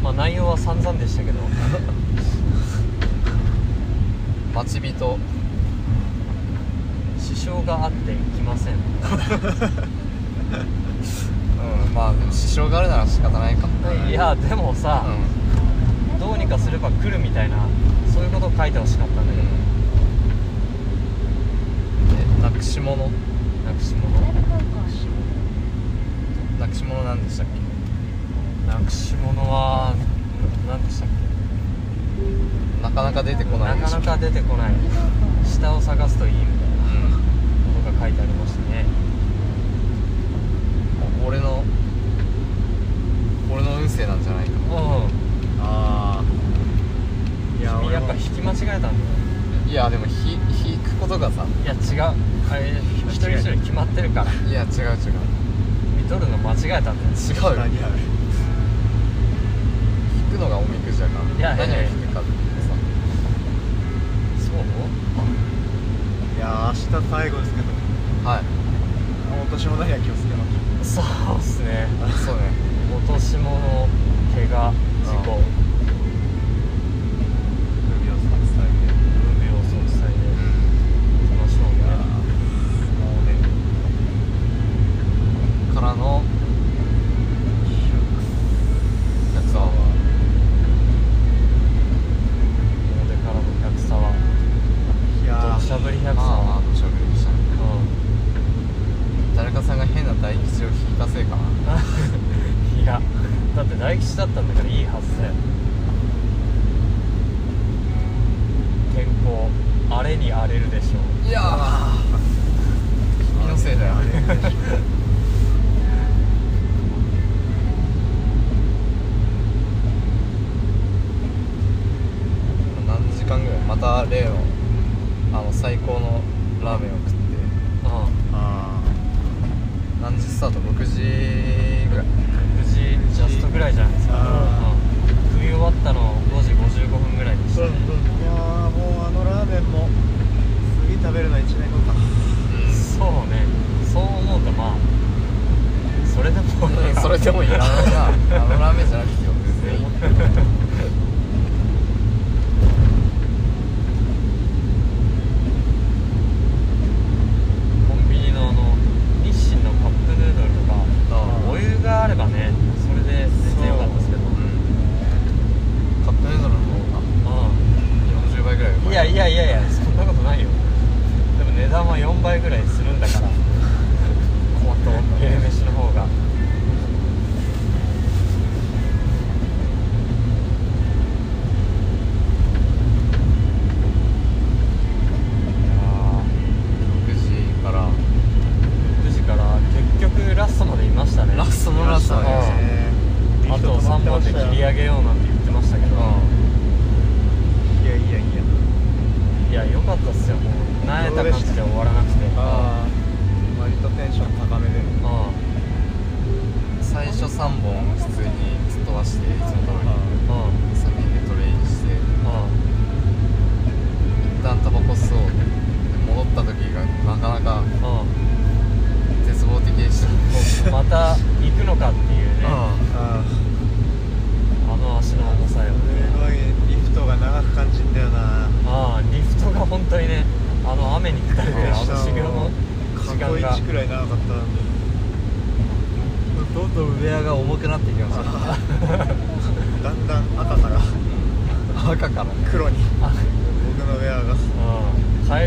まあ内容は散々でしたけど待ち人支障があって行きませんうんまあでも支障があるなら仕方ないかいやでもさ、うどうにかすれば来るみたいなそういうことを書いてほしかったんんだけど、えなくし物なくし物なくし物なんでしたっけなくし物は何でしたっなかなか出てけこなないでかしょなか出てこない下を探すといいみたいなうことが書いてありましたねん俺の俺の運勢なんじゃないかうああいやん君俺やっもぱ引き間違えたんだよいやでもひ引くことがさいや違うあれ一人一人決まってるからいや違う違う認取るの間違えたんだよ違うよある引くのがおみくじだかいやらいや何いやを引くかってさそういやー明日最後ですけどはいお年もないは気をつけましょうそうっすねそうね落とし物怪我事故海を散策で運命を損したいで楽しもういやーねもうねからのやつは表からの百差はいやどーしゃぶり百差ああはどうしようびっくりしたう誰かさんが変な大吉を引いたせいかなん いやだって大吉だったんだからいいはずだよ健康荒れに荒れるでしょういやー君のせいだ よ何時間ぐらいまた例のあの最高のラーメンを食ってうんあ何時スタート6時ぐらい無事ジャストぐらいじゃないですか、あうん食い終わったの5時55分ぐらいでしたね、ーいやーもうあのラーメンも次食べるのは1年後かそうねそう思うとまあそれでもいいうんやそれでもいいあのなあのラーメンじゃなくてよ全然いいコンビニのあの日清のカップヌードルとかお湯があればねそれで全然良かったですけどカップヌードルの方が40倍ぐらいううんまいやいやいやいやそんなことないよでも値段は4倍ぐらいするんだから困ったもんだね昼飯の方が6時から9時から結局ラストまでいましたねラストのラストいましたねあと3本で切り上げようなんて言ってましたけど、いやいやいやいや良かったっすよもうなえた感じで終わらなくてああ割とテンション高めでう最初3本普通に突っ飛ばしていつも通んうんうんり先にトレインして一旦タバコ吸おう戻った時がなかなかう絶望的でしたんまた行くのかっていうねあああの足の重さよすごいリフトが長く感じんだよなああリフトが本当にねあの雨に打たれてるあの修行の時間が過去一くらい長かったのにどんどんウェアが重くなっていき ましたあだんだん赤から赤から黒にあ僕のウェアうんが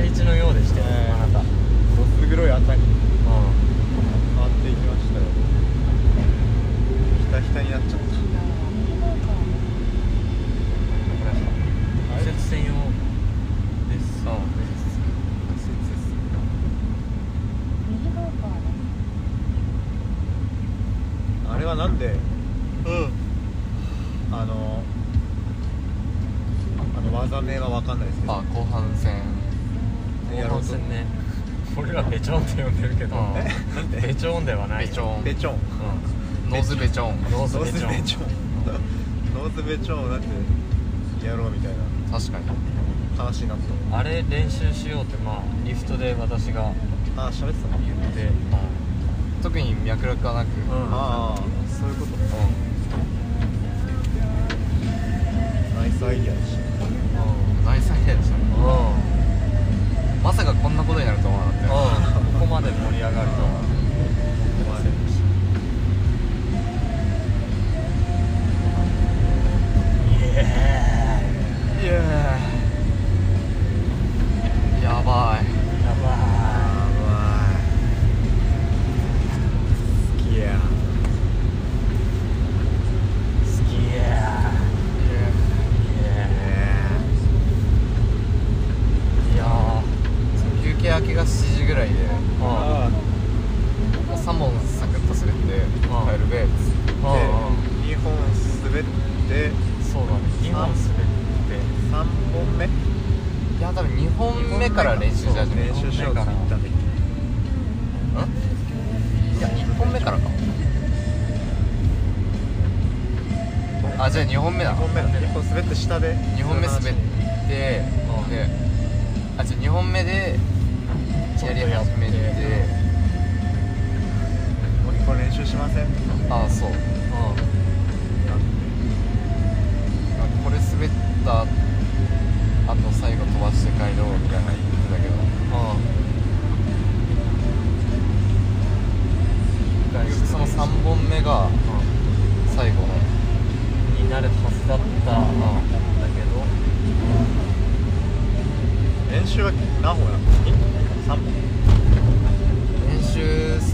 帰り道のようでしたよねえあなたうんどす黒い赤に変わっていきましたよひたひたになっちゃった右折専用ですそうあれはなんであのあの技名は分かんないですけどあ後半戦や後ろう半と戦ね俺らベチョンって呼んでるけどうんえなんでベチョンではないベチョンベチョンうノーズベチョンんノーズノーベチズョンベチョンノーズベチョンをなんでやろうみたい確かにな話になったあれ練習しようってまあリフトで私がああ喋ってたの言って、特に脈絡はなく、うんああそういうことナイスアイディアでしうナイスアイデアでしたねんうんうんまさかこんなことになるとは思わなかったよここまで盛り上がるとは思いませんでしたイエーイやばいやばたあー好きやい好きやいや休憩明けが7時ぐらいでーああ3本サクッと滑あって帰るべーああで2本滑ってーそうだね2本滑って3本目いや多分2本目から練習し始め練た習しようって言ったんだけどんいや1本目からかあじゃあ2本目だ1本目だ1本滑って下で2本目滑ってであじゃあ2本目でやり始めてもう1本練習しませんああそうなんかこれ滑ったあと最後飛ばして帰ろうみたいな言ってたけど結局その3本目が最後のになるはずだったんだけど練習は何本やった ?3 本練習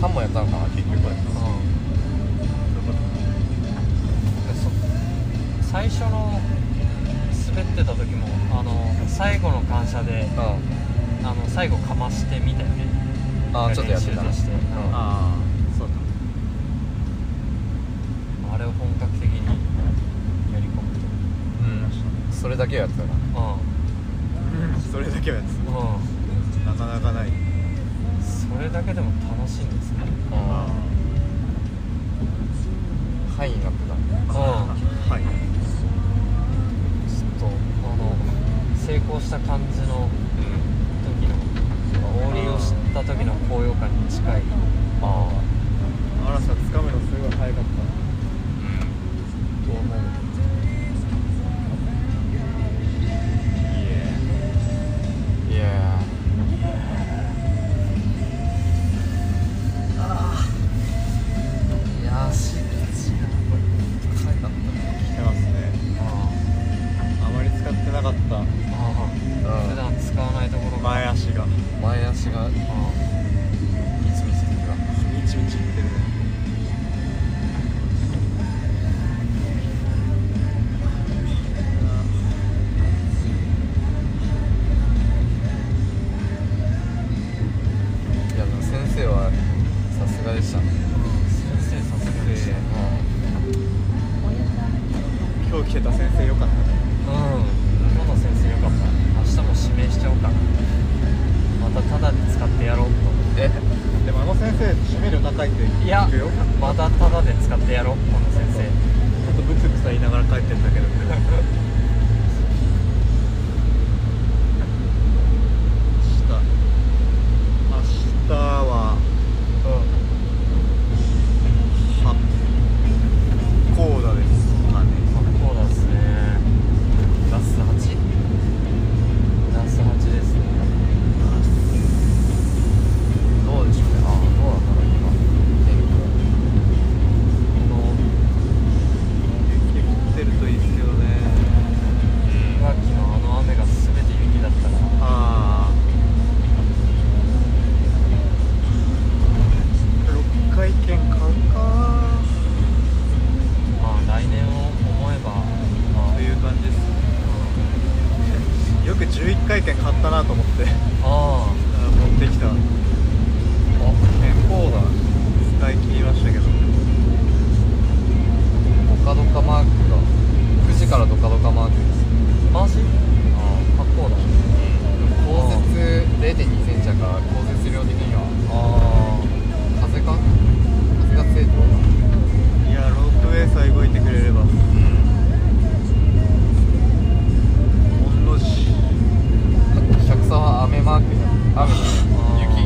3本やったのかな結局そ最初の滑ってた時もあの最後の感謝でうんあの最後かましてみたよねああちょっとやってた練習なとしてうんああそうだあれを本格的にやり込むとうんそれだけはやってたなうそれだけはやつんうんなかなかないそれだけでも楽しいんですね範囲になってたうんちょっはいとあの成功した感じうのん時のオーリーを知った時の高揚感に近いああ嵐さん掴むのすごい早かとっ思ういやーいやーしびれこれ高いだったねた来てますねあまり使ってなかったああ普段使わないところが前足が前足がいつ見せてたみちみちいってるねいやでも先生はさすがでしたね先生さすがでしたね今日来てた先生よかったねうん今の先生よかった明日も指名しちゃおうかなまたタダで使ってやろうと思えでもあの先生締める高いってっていや聞くよまたタダで使ってやろうこの先生ちょっとブツブツは言いながら帰ってんだけどね明日明日は八甲田ですかねうんそうだですねラス8ラス8ですねどうでしょうねあーどうなんだろう今天この雪降ってるといいですけどね岩木のあの雨が全て雪だったらああ6回券買うかまあ来年を思えばまあという感じですよく11回券買ったなと思ってあああー持ってきた健康だ使い切りましたけど気がドカドカマークが9時からドカドカマークですマジああ格好だ降雪0.2センチやから降雪量的にはあ風か風が強いってことかいやロープウェイさえ動いてくれれば御の字うん客さは雨マークになるあ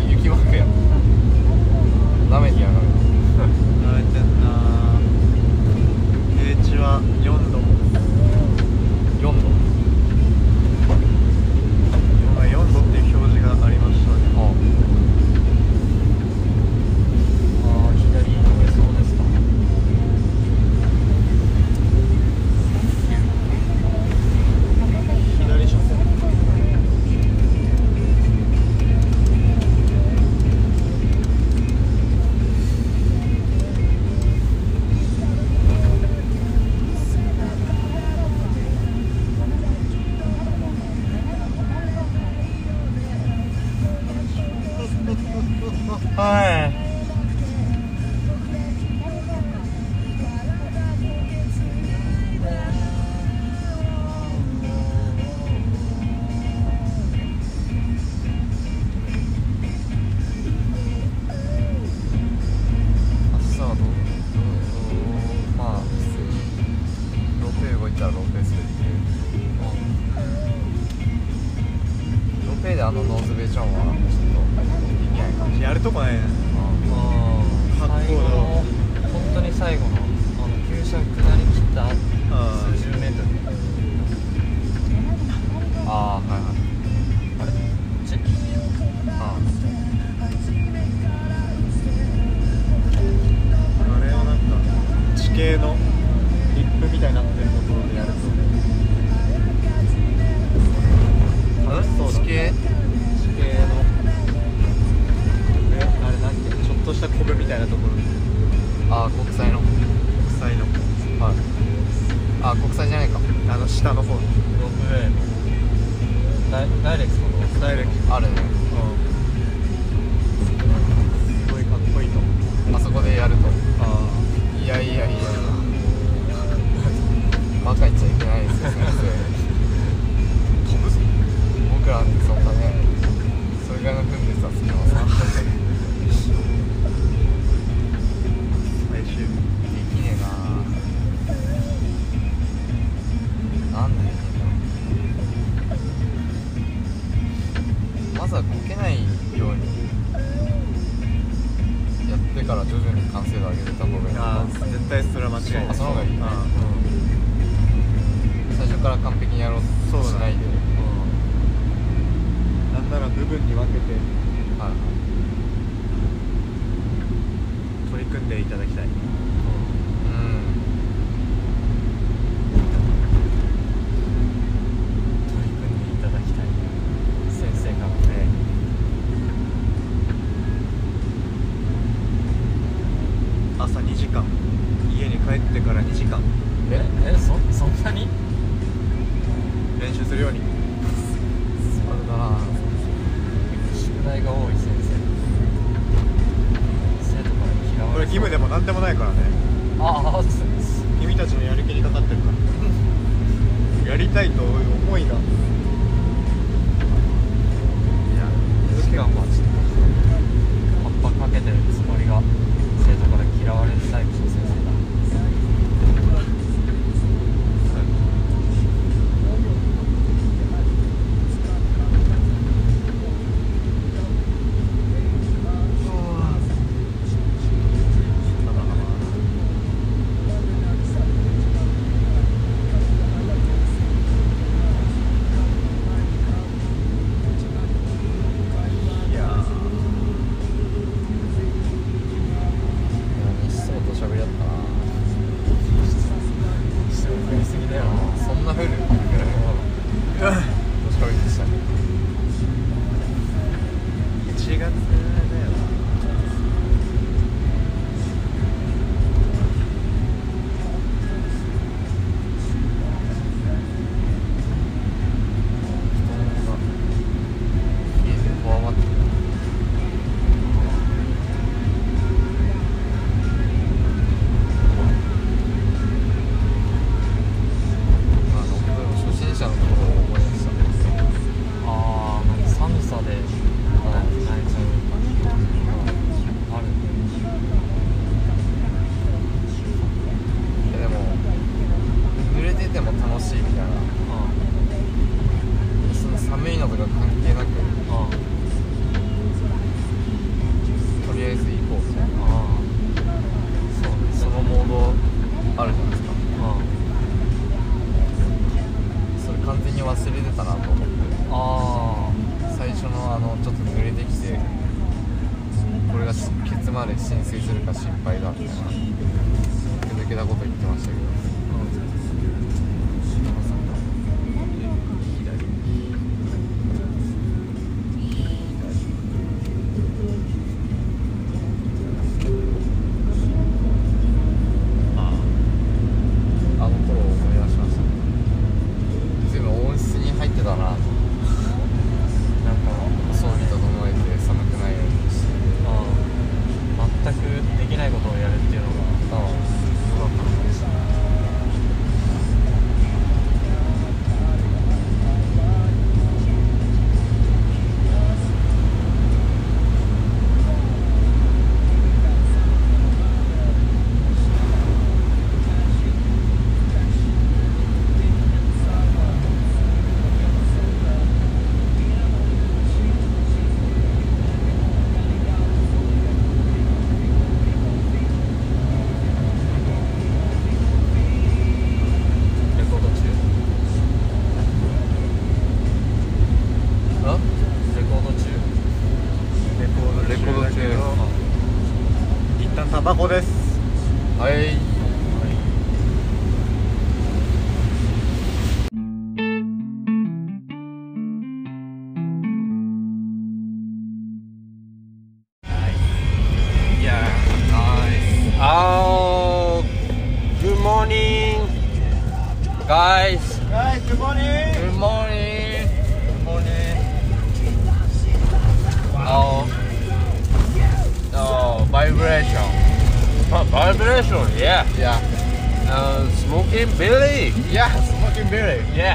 のローペーするっていうローペーであのノーズベーションはちょっとできないかもしれないやるとこないなあかっこいい最後の本当に最後のあの急車下り切ったあ数十メートルああはいはいちああれをなんか地形のリップみたいになってるところでやると楽しそうだ地形地形のえあれなんていうのちょっとしたコブみたいなところああ国際の国際のはいあー国際じゃないかあの下の方ロープウェイのダイダイレクトのダイレクトあるねすごいかっこいいと思うあそこでやるとあいやいやいやバカ言っちゃいけないですよ先生飛ぶぞ僕らってそんなねそれぐらいの訓練さすきます最で終きねえななんでできねえのまずはこけないようにやってから徐々に完成度上げてた方がいいなあー絶対それは間違いないあその方がいいねあ最初から完璧にやろうそうとだねしないで、ーなんなら部分に分けてはい取り組んでいただきたいうん取り組んでいただきたい先生がね朝2時間家に帰ってから2時間ええそそんなに練習するようにそれだな宿題が多い先生生徒から嫌われこれ義務でも何でもないからねああすす君たちのやる気にかかってるからやりたいという思いがいやしかもちょっと葉っぱかけてるつもりが生徒から嫌われる最後の先生だいやー西層と喋り合ったなすごいすぎだよなそんなふうに言ってくれるの喋りでしたね1月だよ冷えてこわばってあの初心者の頃を思い出したああなんか寒さであー泣いちゃうあるいやでも濡れてても楽しいみたいなあその寒いのとか関係なくあああとりあえず行こうみたいなああそうねそのモードあるじゃないですかあそれ完全に忘れてたなと思ってああ最初のあのちょっと濡れてきてこれがしケツまで浸水するか心配だみたいな抜けたこと言ってましたけどあの頃を思い出しましたね随分温室に入ってたなとなんか装備整えて寒くないようにしてああ全くできないことをやるっていうのがああすごかった Oh, morning guys Guys, good morning. good morning Good morning. oh oh vibration Vibration, yeah. yeah Uh, smoking Billy. yeah smoking very Yeah.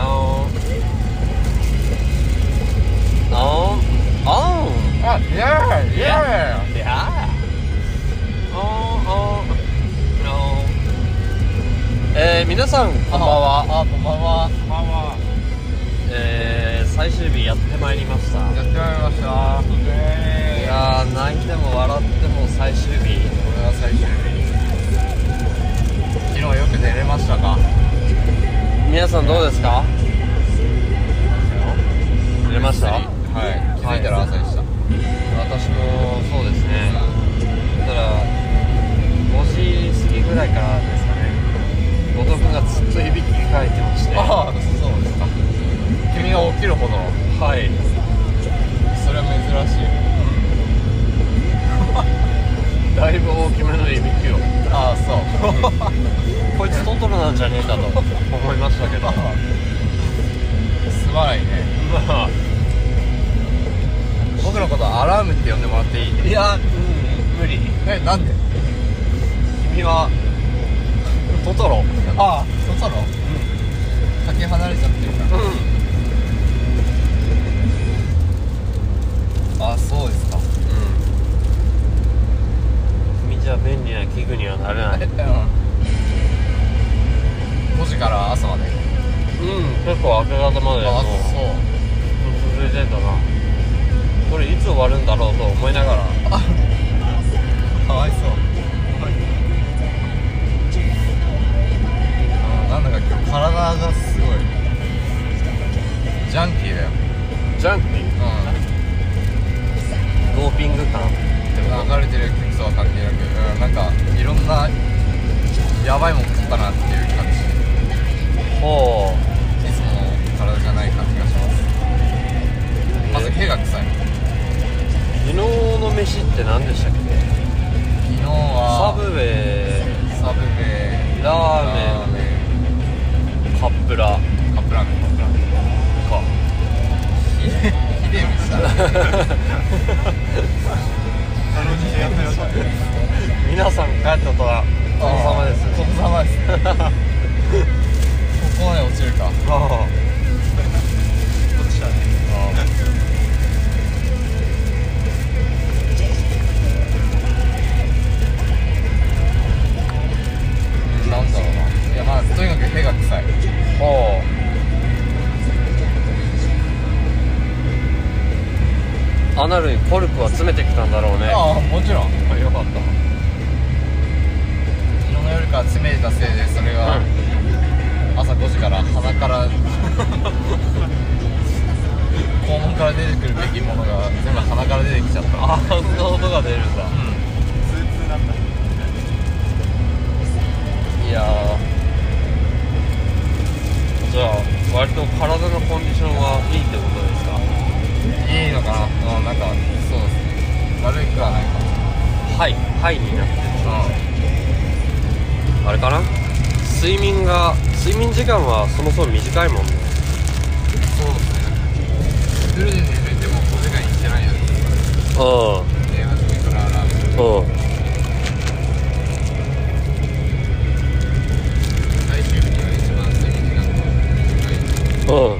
Oh. Oh. Oh. oh yeah yeah Yeah. Oh, oh. No. えー、皆さん、こんばんは。あこんばんはえー、最終日やってまいりました。やってまいりましたいやー、泣いても笑っても最終日。これは最終日昨日よく寝れましたか皆さんどうですか寝れましたはい気づいたら朝でした、私もそうですねただ5時過ぎぐらいからですかね後藤君がずっといびきかいてましてはああそうですか君が起きるほどいそれは珍しいだいぶ大きめのいびきをああそう こいつトトロなんじゃねえかと思いましたけどますまないねあ 僕のことアラームって呼んでもらっていいいやうん無理えなんで君はトトロああそそろかけ離れちゃってるかうらああそうですかん君じゃ便利な器具にはなれないえうん5時から朝までうん結構明け方までああもうそう続いてたなこれいつ終わるんだろうと思いながらかわいそうあのなんだか今日体がすごいジャンキーだよジャンキードーピング感うんでも流れてる曲とは関係なく、うん、なんかいろんなやばいもん食ったなっていう感じいほうつもの体じゃない感じがしますまず毛が臭い昨日の飯って何でしたっけ昨日サはブウェイサブウェイラーメメンカップランカップラーメンカップラーメンかひでひでえ飯だ ね皆さん帰ったとはおお疲れ様ですお疲れ様ですここまで落ちるかあなんだろうないやまあとにかく屁が臭いあほうアナルにコルクは詰めてきたんだろうねああもちろんあよかった昨日の夜から詰めたせいでそれが朝5時から鼻から肛門から出てくるべきものが全部鼻から出てきちゃったあんな音が出るんだいやーじゃあ割と体のコンディションはいいってことですかいいのかなうんなんかそうですね悪くはないかもはいはいになってるあれかな睡眠が睡眠時間はそもそも短いもんねそうですねフルで寝れても5時間いってないよねう寝始めからアラームんうん最終日には一番睡眠時間が短いうん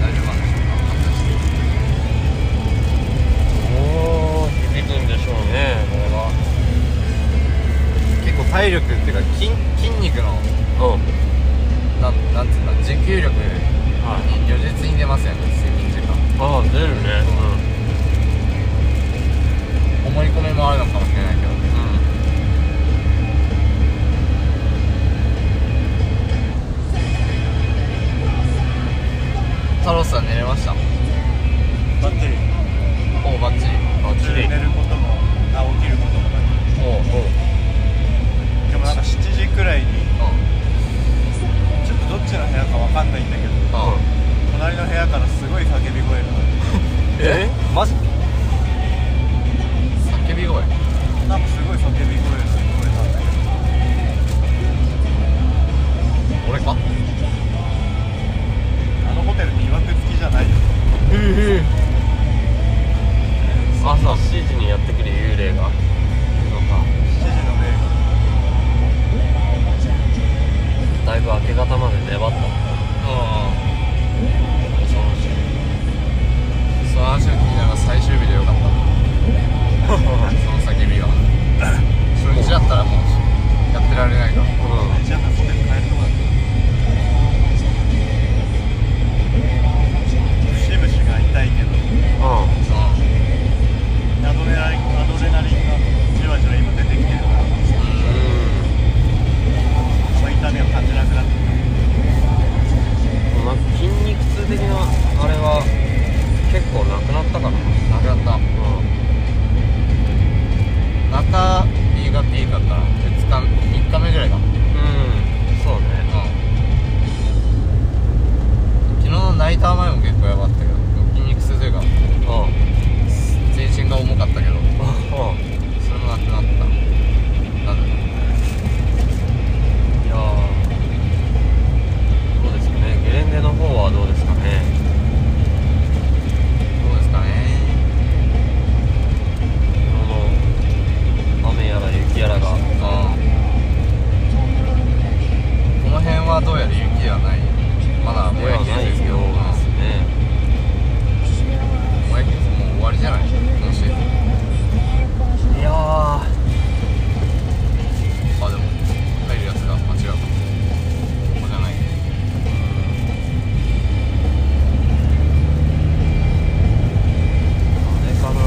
大丈夫なんでしょうか果たしてもう響くんでしょうねこれは結構体力っていうか筋筋肉のうんなんなんつうんだ持久力にはい如実に出ますよね睡眠時間ああ出るね思い込みもあるのかもしれないけどねうん、うん太郎さん寝れましたバッテリーおおバッチリバッ寝ることもあ起きることもないおうおうでもなんか朝7時にやってくる幽霊がいるのか時のメーだいぶ明け方まで粘ったあその話を聞きながら最終日でよかったその叫びが初日だったらもうやってられないからルじゃあホテル帰るとこだった節々が痛いけどあうんアドレナリンアドレナリンがじわじわ今出てきてるからあんま痛みを感じなくなってきたうんなんか筋肉痛的なあれは結構なくなったかななくなった中新潟いいかったら2日3日目ぐらいかなうんそうね昨日のナイター前も結構やばかったけど筋肉痛というかう全身が重かったけどんうんそれもなくなったなんだろういやーどうですかねゲレンデの方はどうですかねどうですかねこの雨やら雪やらがうんこの辺はどうやら雪はないまだでぼやはきないですけどようですねぼやきですもう終わりじゃない今シーズンいやーあでも入るやつが間違うかもここじゃないあれかな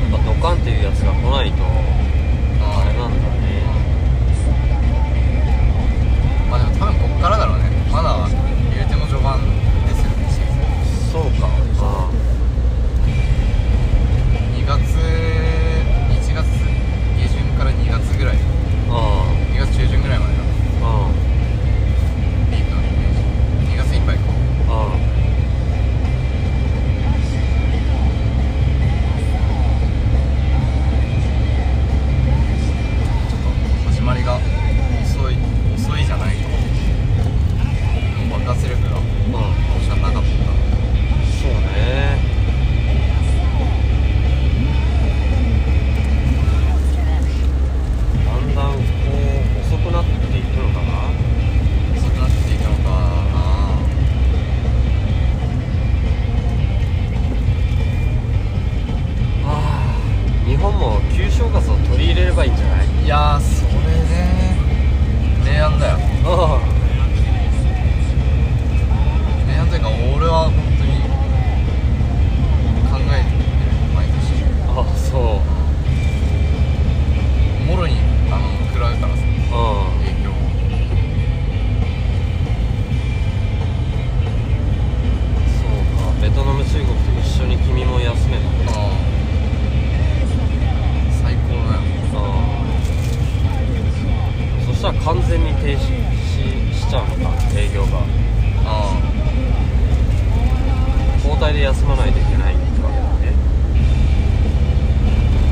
やっぱドカンっていうやつが来ないとあれなんだねまあでも多分こっからだろうねまだ言うても序盤ですよねシーズンそうかあ2月1月下旬から2月ぐらいああ2月中旬ぐらいまでだああピークのイメージ2月いっぱいかあちょっと始まりが遅い遅いじゃないかもう爆発力があああおしゃなかったそうねだんだんこう遅くなっていくのかな遅くなっていくのかなああ日本も旧正月を取り入れればいいんじゃないいやーそれね提案だよあ提案というか俺は本当に考えてる毎年ああそもろにあの食らうからさううん影響をそうかベトナム中国と一緒に君も休めばねああ最高だよああそしたら完全に停止ししちゃうのか営業があ交代で休まないといけないってわけだね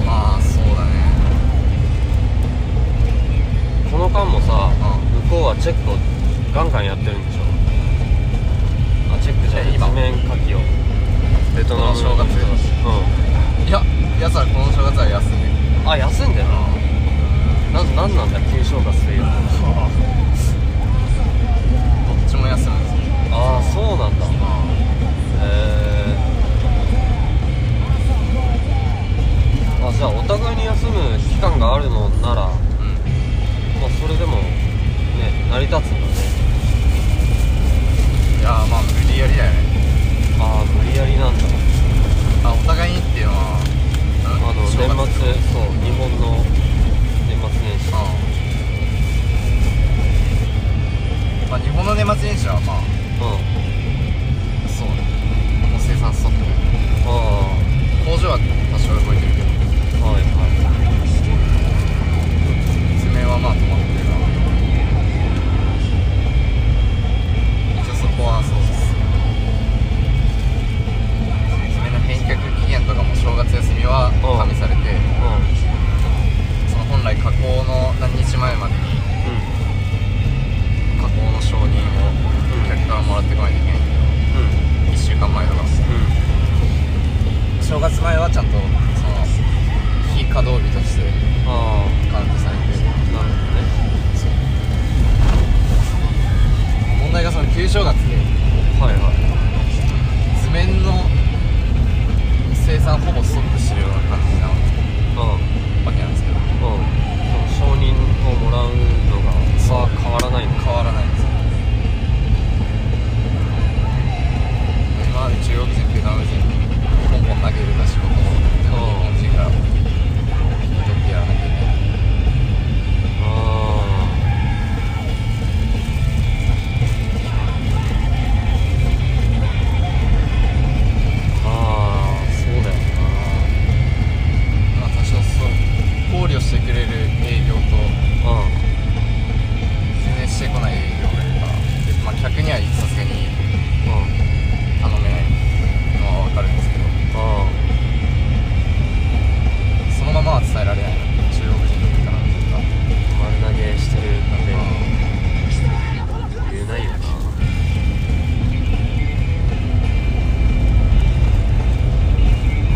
あまあそうだねこの間もうさ向こうはチェックをガンガンやってるんでしょあチェックじゃないえ今一面書きをベトナこムの正月いややつらこの正月は休んでるうんあ休んでるなななんなんだ旧正月というのはどっちも休むんですよああそうなんだえーあじゃあお互いに休む期間があるのなら、まうんあ、それでもね成り立つんだねいやーまあ無理やりだよねああ無理やりなんだあお互いにっていうのはあの年末そう日本の年末年始うんまあ日本の年末年始はまあうんそうねもう生産ストップあ工場は多少動いてるけどあはいは爪はまあ止まってるな一応そこはそうです正月前はちゃんとその非稼働日としてあカウントされてあなるほ問どね題がその旧正月ではいはい図面の生産ほぼストップしてるような感じなうわけなんですけどんうんその承認をもらうのがは変わらないのか変わらないんですよ今まで中国人ベトナム人香港投げるか仕事も日本人が引き取ってやらなきゃいけないああああそうだよまあ多少そう考慮してくれる営業となうん全然してこない営業がいるから、まあ、客にはさすがにうん頼めないのは分かるんですけどあそのままは伝えられない中国人の方なんとかあ丸投げしてるんで言えないよな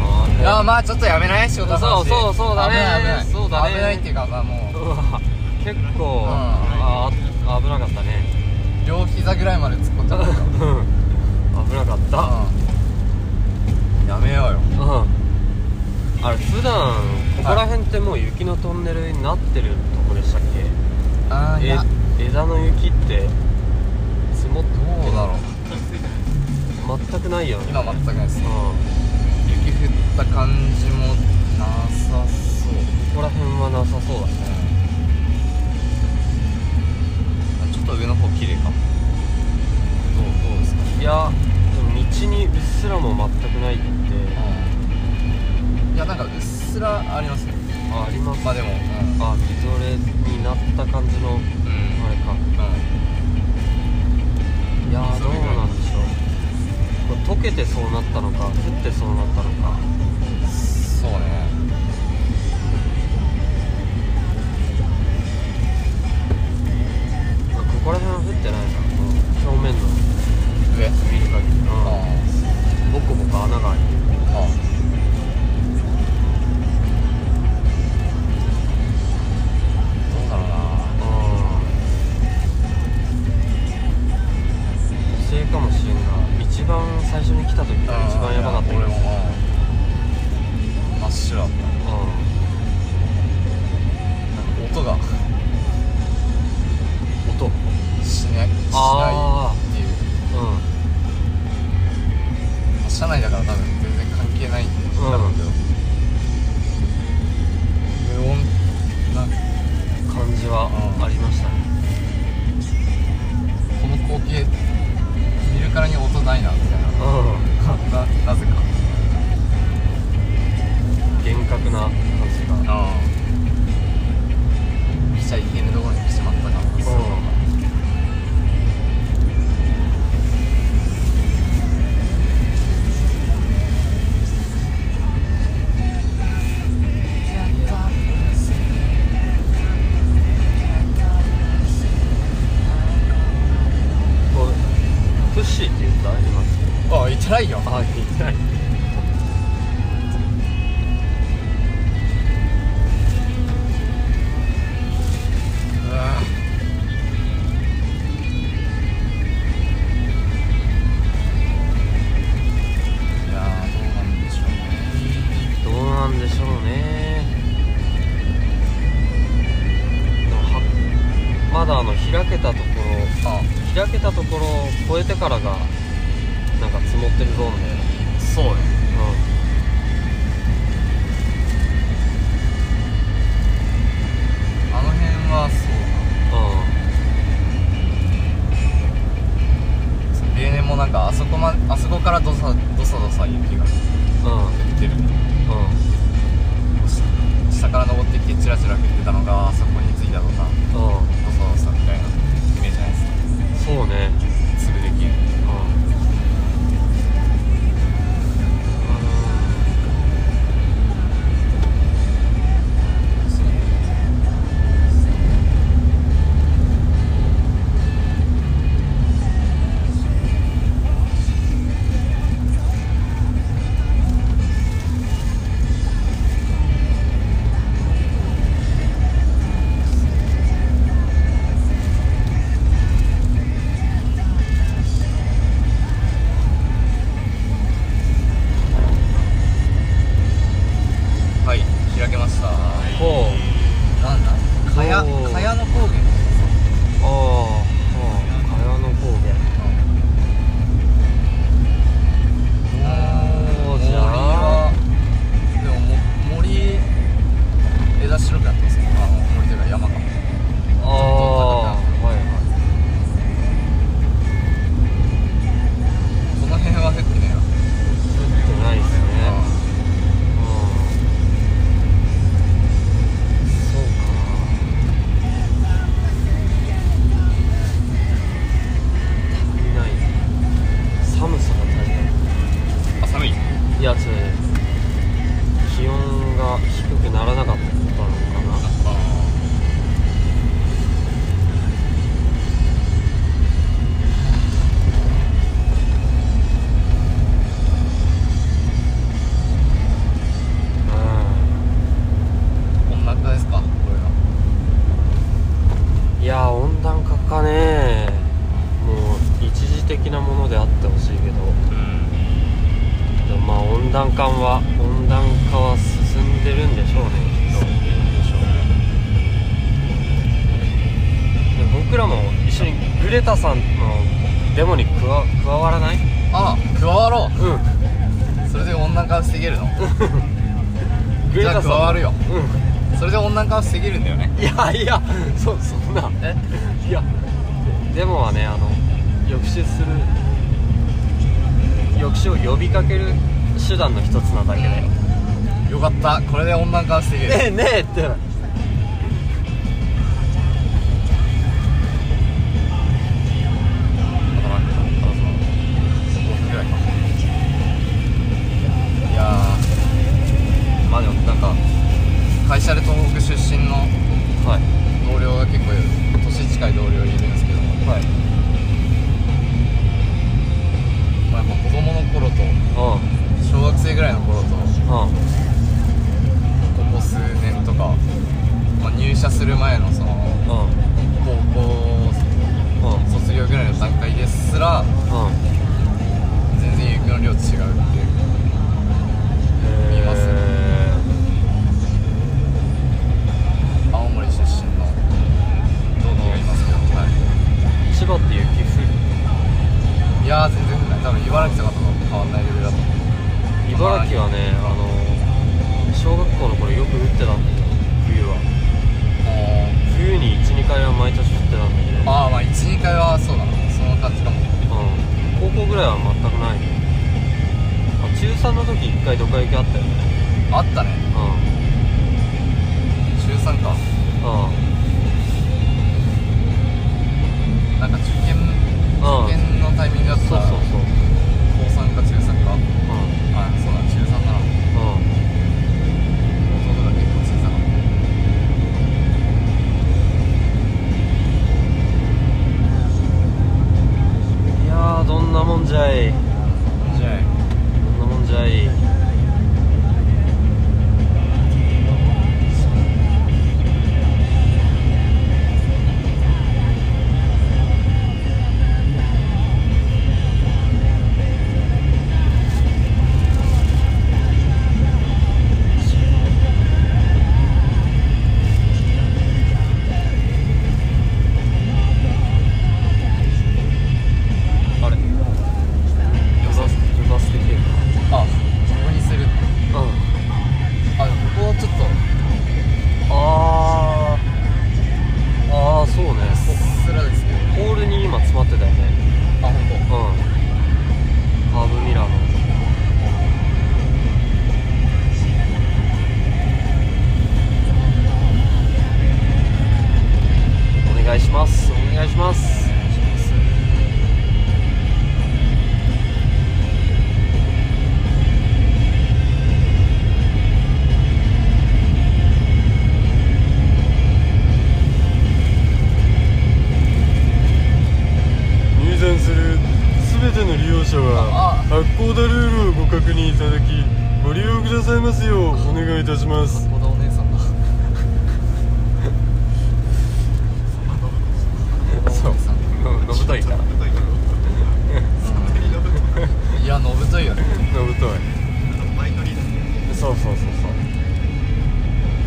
あーでああまあちょっとやめない仕事の話そうそうそうだね危ない危ないそうだね危ないっていうかまあもううわ結う構んあー危なかったね両膝ぐらいまで突っ込んじゃったからうん危なかったうんやめようようんあれ普段ここら辺ってもう雪のトンネルになってるとこでしたっけああいえや枝の雪って積もっどうだろうて全くないよね今全くないですうんこ雪降った感じもなさそうこら辺はなさそうだねちょっと上の方綺麗かもどうどうですかいやでも道にうっすらも全くないっていやなんかうっすらありますねあありますまあでもうんあみぞれになった感じのうん、あれかうん、いやーどうなんでしょうこれ溶けてそうなったのか降ってそうなったのかそうねここら辺は降ってないなこの表面の上見る限りあーボコボコ穴が開いてるあーどうだろうなあー補正かもしれんが一番最初に来た時が一番やばかったいよ俺もうん真っ白だっうた音がん音しないしなあいっていううまあ車内だから多分全然関係ないんだろうけど、無音なんかん感じはありましたねこの光景見るからに音ないなみたいなうななぜかん厳格な感じがああ来ちゃいけぬところに来てしまったかこうプッシーって言った今ああいてないよあ言ってないいやーどうなんでしょうねどうなんでしょうねでもはまだあの開けたところあ開けたところを越えてからがなんか積もってるゾーンで、あそうねあの辺はそうだう例年もなんかあそこまあそこからどさどさどさ雪が降んうんうんってるう下から登ってきてチラチラ降ってたのがあそこに着いたとかんうんどさどさみたいなイメージないですかそうね粒できるうんうーん気温が低くならなかったのかなこんな感じですかこれがうんいやー温暖化かねもう一時的なものであってほしいけどでもまあ温暖化は温暖化は進んでるんでしょうねきっとで僕らも一緒にグレタさんのデモに加わ加わらないあ加わろうんうそれで温暖化を防げるのグレタさんじゃあ加わるようそれで温暖化を防げるんだよねんいやいやそそんなえいやデモはねあの抑止する抑止を呼びかける手段の一つなだけでよかったこれで温暖化を防げる、ねえねえってあとなんかあとその5分ぐらいかいやまあでもなんかー会社で東北出身のはい同僚が結構年近い同僚いるんですけども、はいまあ、やっぱ子供の頃とう小学生ぐらいの頃とんうんここ数年とか、まあ、入社する前のそのうん高うん校卒業ぐらいの段階ですらうん全然雪の量違うっていう見えますえ青森出身の同期がいますけど、はー千葉って雪い、いやー全然降んない多分茨城とかと変わんないレベルだと思う降る茨城はねあの小学校の頃よく降ってたんだけど冬は冬に12回は毎年降ってたんだけどああまあ12回はそうだなその感じかもうん高校ぐらいは全くないあ中3の時一回どか雪あったよねあったねう中3かんうんなんか受験ああ受験のタイミングだったそうらそうそう高3か中3かうあそうだ中3だなんうん弟が結構小さかっいやーどんなもんじゃいたじゃどんなもんじゃいあれ夜バス夜バスで消えあここにするたうんあでもここはちょっとあーあーそうねうっすらですけどホールに今詰まってたよねあ本当。うんカーブミラーのお願いしますお願いします入山する全ての利用者は発行だルールをご確認いただきご利用くださいますようお願いいたします小田お姉さんだそうさんのぶといからいやのぶといよねのぶといバイトリーダーそうそうそうそう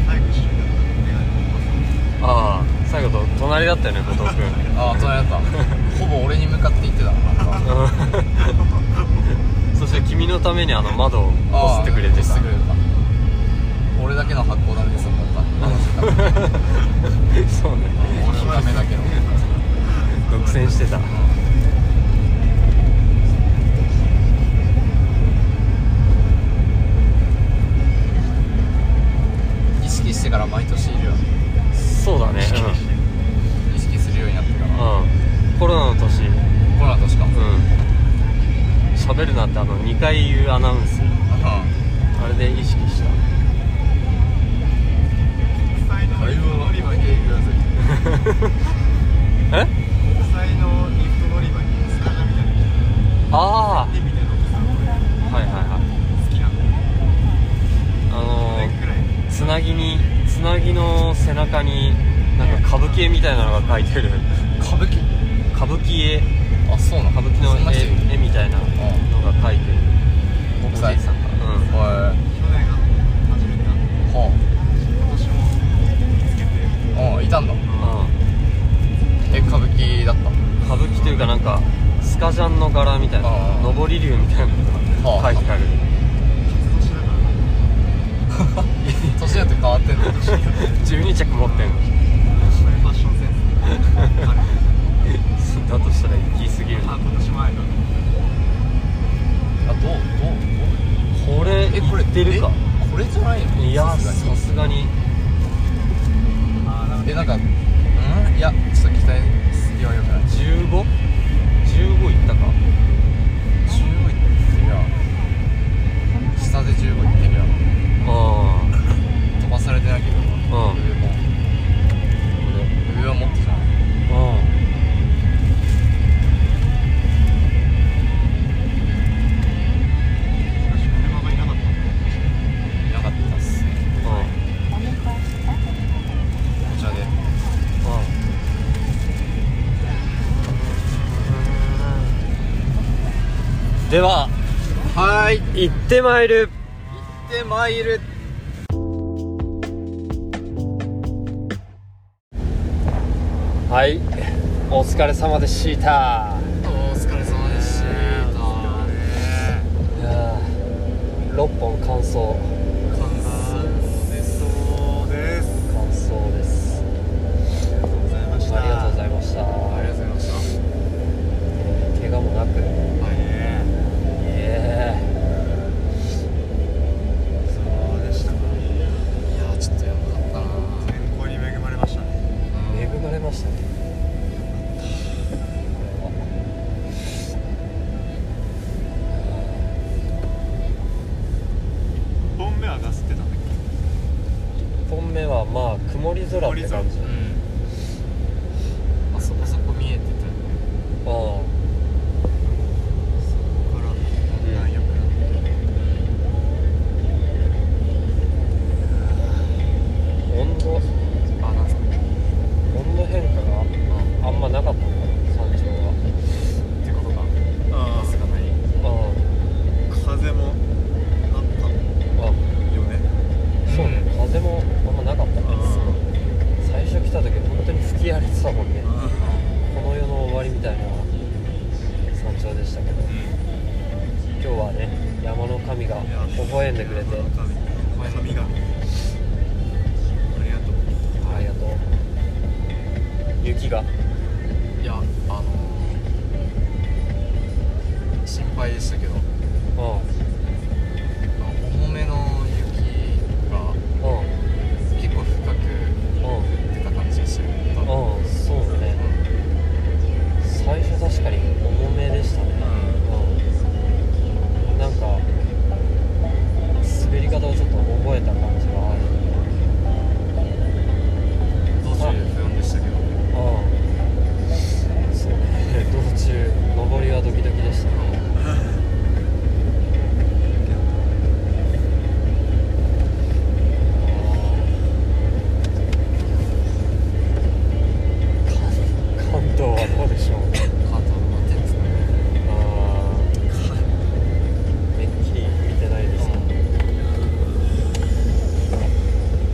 最後一緒になったああ最後と隣だったよね後藤君ああ隣だ ったほぼ俺に向かって言ってたなんか うんそして君のためにあの窓をあ擦ってくれて擦たってくれた俺だけの発行だねそんだったあの人だそうね俺のためだ けの独占してた意識してから毎年いるよねそうだね意識するようになってからうん、うん、コロナの年うんコロナ年か喋るなってあの2回言うアナウンスうあれで意なぎにつなぎの背中になんか歌舞伎絵みたいなのが描いてる歌舞伎歌舞伎絵あそうなの歌舞伎のそんな人いる絵絵みたいなのが描いてるお国じ際いさんがうんは去年あって初めてあっていは今年も見つけてあうんいたんだうんえ歌舞伎だ った歌舞伎というかなんかスカジャンの柄みたいなあー上り竜みたいなのはがあ描いてある年年によだからって変わってんの12着持ってんのそういうファッションセンスがあるだとしたら行き過ぎるあ今年前だあどうどうこれどうえこ行れってるかえこれじゃないのいやさすがにさすがにあなんかえなんかうんいやちょっと期待すぎはよくない 15?15 行ったか15いってみよう下で15いってみようあ飛ばされてないけどうん上も上はもっとじゃないあ昔車がいなかったんでいなかったっすねうんうんこちらでうんでははーい行ってまいるでマイルはいお疲れ様でしたお疲れ様でしたいや6本完走そうです完走ですありがとうございましたありがとうございましたありがとうございまし怪我もなくねええそうでしたかたいやーちょっとやばかったな天候に恵まれましたね恵まれましたね1本目はガスってたんだっけ1本目はまあ曇り空って感じうんあそこそこ見えてたよねあここからうん何よくあ温度あなんすか温度変化があんまなかったんだ山頂はってことかあガスがないああ風もあったああよねそうね、風もあんまなかったからあ最初来た時本当に吹き荒れてたもんねああこの世の終わりみたいな山頂でしたけど、今日はね山の神がいや微笑んでくれて神神がありがとうありがとう雪がいやあのー、心配でしたけどうん重めの雪がう結構深く降ってた感じがしてるうんんうんそうね最初確かに重めでしたねうんなんか滑り方をちょっと覚えた感じがある途中不安でしたけどうんそうね道中上りはドキドキでしたね関東はどうでしょうカートの待ってですかねあーめっきり見てないですねあ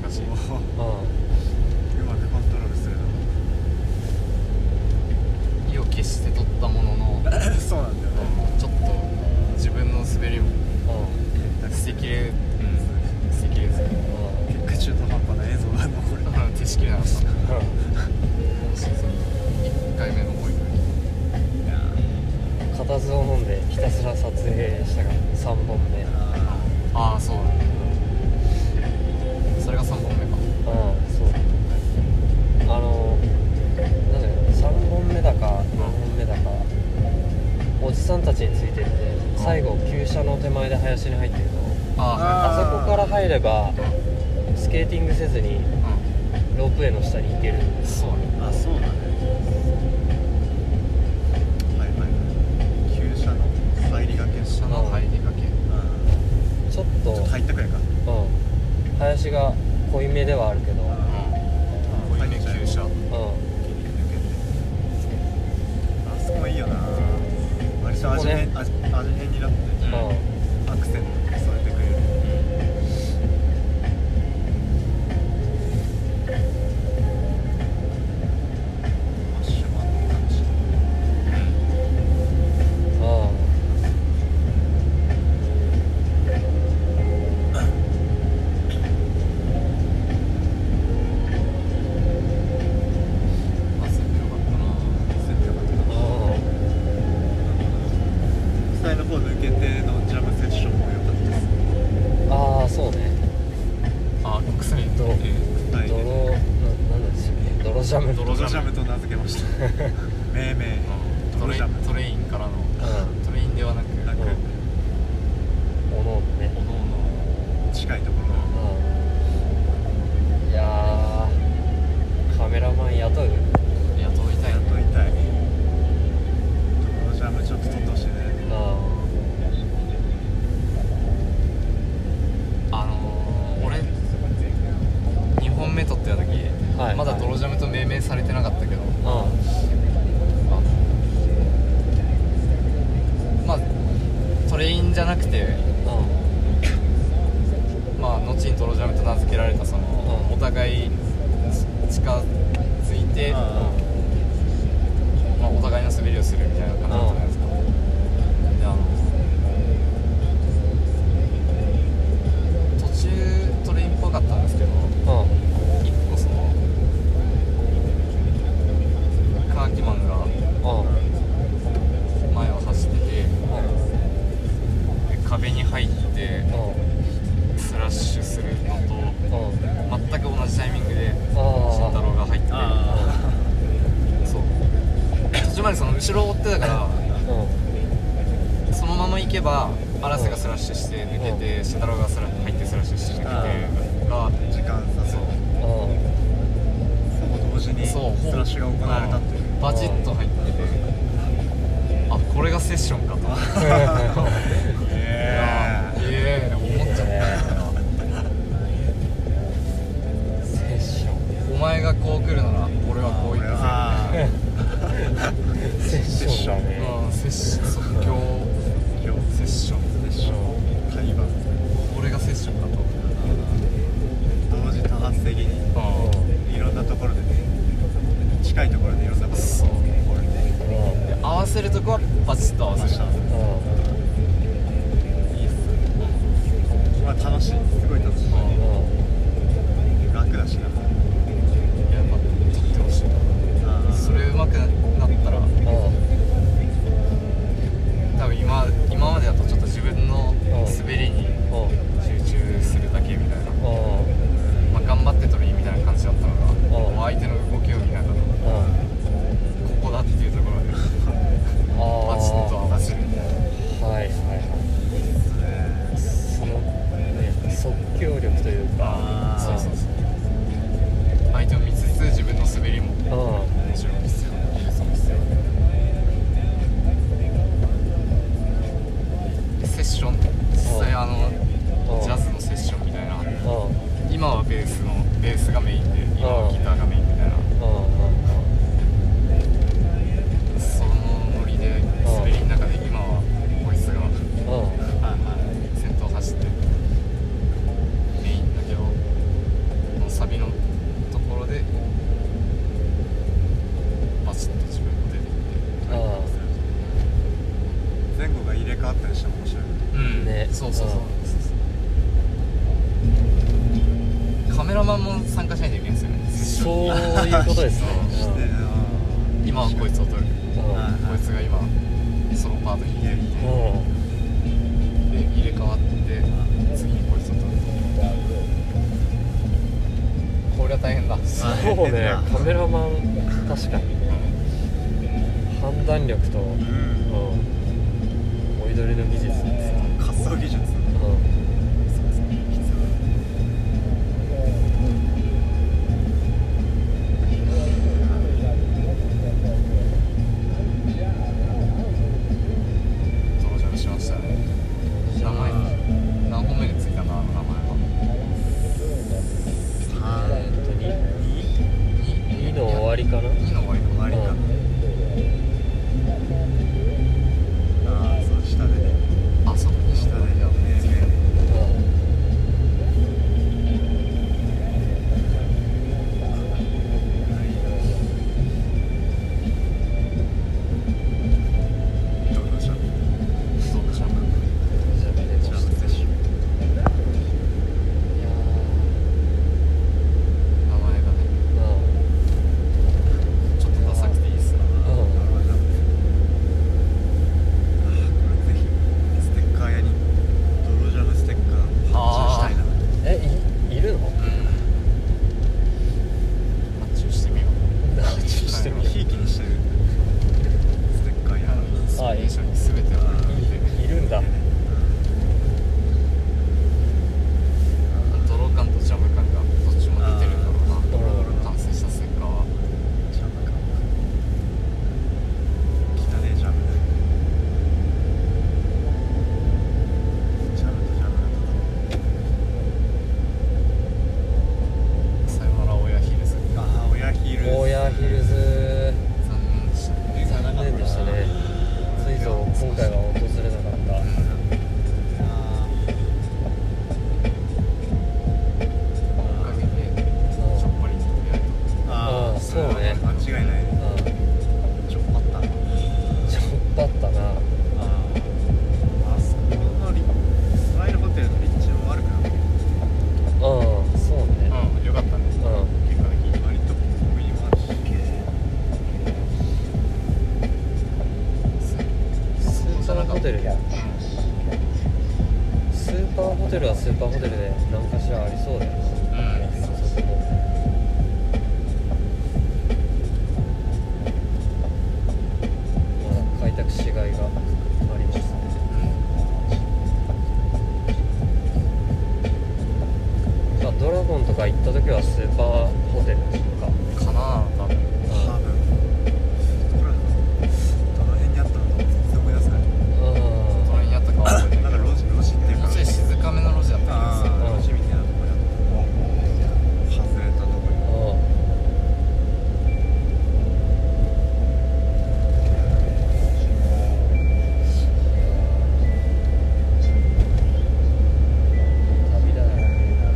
ううまくコントロールするの意を決して取ったもののそうなんだよねちょっと自分の滑りもんうん捨てきれうん捨てきれずにう結果中途半端な映像が残る手しきれなかった今シーズン1回目の思い出ん固唾を飲んでひたすら撮影したから3本目うんああそうだねそれが3本目かそうあのなんだろう3本目だか4本目だかおじさんたちについてって最後急車の手前で林に入ってるのああそこから入ればスケーティングせずにあうんロープウェイの下に行けるそうだねあそうなんだねはいはいはい旧車の入りがけ車の入りかけうんちょっちょっとと入ったくらいかうん林が濃いめではあるけどうんうん濃いめ旧車あそこもいいよな割と味変、味味変になってうんアクセント添えてくれるマッシュマンの感じ焦ってよかったなセットよかったなう最後の方抜けてのジャムセッションも良かったですんああそうねあー臭いとどはい泥ななんですよね泥ジャム泥ジャムと名付けました命名ト泥レジャムトレインからのうトレインではなくなくんおのおのねおのお近いところうんいやーカメラマン雇うの雇いたいやっなといたい泥ジャムちょっと撮ってほしいねうあのー、俺2本目撮ってた時、はいまだ泥ジャムと命名されてなかったけど、んうんまあトレインじゃなくてうまあ後に泥ジャムと名付けられたその、うんお互いち近づいて、まあ、お互いの滑りをするみたいな感じだったじゃないですか、であの途中トレインっぽかったんですけどんうん一個そのカーキマンがう前を走っててんうんで壁に入ってスラッシュするのとうんうん全く同じタイミングで慎太あ郎が入ってそう途中までその後ろを追ってたからあうんそのまま行けば荒瀬がスラッシュして抜けて慎太郎がスラ入ってスラッシュして抜けてが時間差そううんほぼ同時にスそうラッシュが行われたっていううんバチッと入っててあこれがセッションかとええええ思っちゃっセッシたョお前がこう来るなら俺はこう行くぜあーンセッションだねうんセッション即興今日セッションセッション会話これがセッションだと同時多発的にいろんなところでね近いところでいろんなことが起こるねうんで合わせるとこはバチッと合わせる明日いいっすまあ楽しいすごい楽しいうんうん楽だしなやっぱ撮ってほしいあなーそれ上手くなったらう多分今今までだとちょっと自分の滑りにんうん集中するだけみたいな、うんまあ、頑張って撮るみたいな感じだったのが、んこう相手の動きを見ながらこうんこだっていうところでああバチッと合わせるはいはいはいそのね即興力というかあーそうそうそう相手を見つつ自分の滑りもうんもちろん必要セッション実際あのうんジャズのセッションみたいなうんうん今はベースのベースがメインで今はギターがメインみたいなうそのノリで滑りの中で今はこいつがんうんうん先頭走ってメインだけどこのサビの変わったりしても面白いよねうんねそうそうそうカメラマンも参加しないといけないんですよねそういうことですねしてあ今はこいつを撮るうんうんこいつが今ソロパートにいてうんで入れ替わって次にこいつを撮るこれは大変だそうねカメラマン確かに判断力と、うん、おいどりの技術ですね、あ滑走技術うん登場しましたね名前何本目についたなあの名前はえーっと2の終わりかな2の終わりか終わりかうんああそう下でねあそうでし下たでねどうでしょうそうでしょじゃあ出まじゃあしたぜひいや名前がねーちょっとダサくていいっすねうんうんあこれぜひステッカー屋にドロジャムステッカー発注したいなえいいるのうん発注してみよう発注してみよひいきにしてるステッカー屋うあいい一緒に全てをいいるんだドロー感とジャム感がどっちも出てるんだろドロドうロな完成したステッカーはジャムか汚ねえジャムだジャムとジャムだとさよなら親ヒルズああ親ヒールモーヤーヒルズ残念でしたね残念でしたねついぞ今回は訪れなかったおかげでちょっぱりに出会えああーあそうね間違いないねうんちょっぱったちょっとあったなあああそこのリスマイルホテルの立地も悪くなかったうんそうねたうんよかったねうん結果的に割とコンビニもあるしスーパーホテルスーパーホテルはスーパーホテルで何かしらありそうだよなうんそうそうそうまだ開拓しがいがありますねまあドラゴンとか行った時はスーパーホテルかかな多分多分ほらどの辺にあったのか全然思い出せないうん隣にあったかは覚えてなんかる路地路地っていうもかうちょい静かめの路地だったあんであ路地みたいなとこにあった外れたとこに旅だな名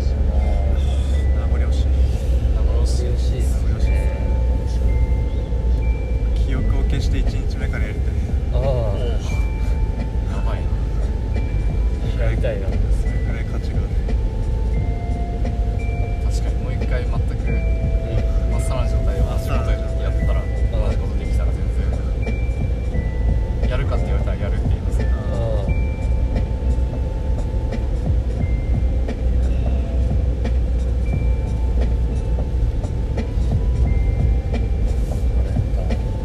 残惜し名残惜しいですねい記憶を消して1日目からやりたいああすよやばいなやりたいなそれくらい価値がある確かにもう一回全くまっさらな状態を仕事でやったら同じことできたら全然やるかって言われたらやるって言いますけどう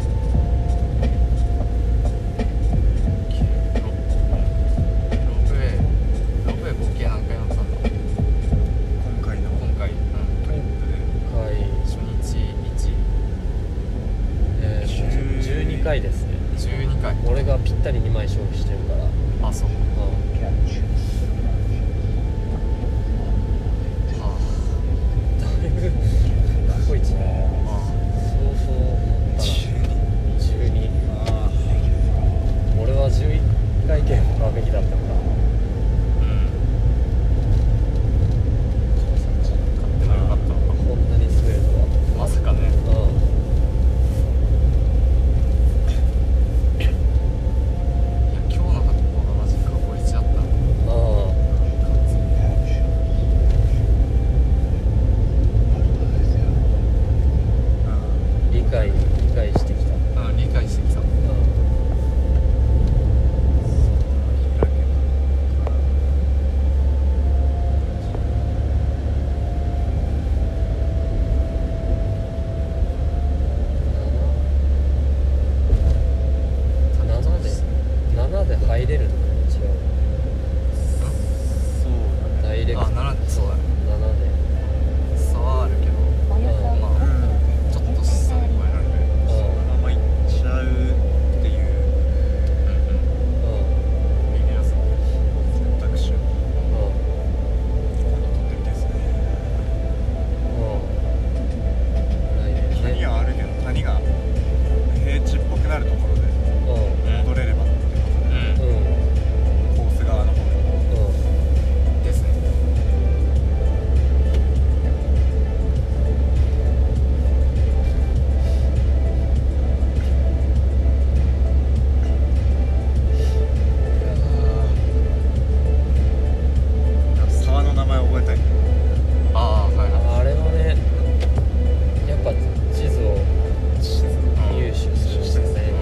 ロロープウェイロープウェイ合計何回乗ったんだ今回の今回、トリップでん回初日えー、12回ですね112回俺がぴったり2枚消費してるからあそううんあだいぶ過去一ねあそうそう12あ俺は11回転を買うべきだったのかうん買ってもよかったのかこんなに滑るとまさかねはうんいや今日の格好が入れるの一応そうだねダイレクトあ7ならそうだねで差はあるけどまあちょっと差で超えられるうそのまま行っちゃうっていううんうんビビらず選択肢をうんうん今度取ってみたいですねうんない谷ねはあるけど谷が平地っぽくなるところでう戻れればってことでんうんコース側の方にうですね川の名前を覚えたいああはいんはあれはねやっぱ地図を入手するんですね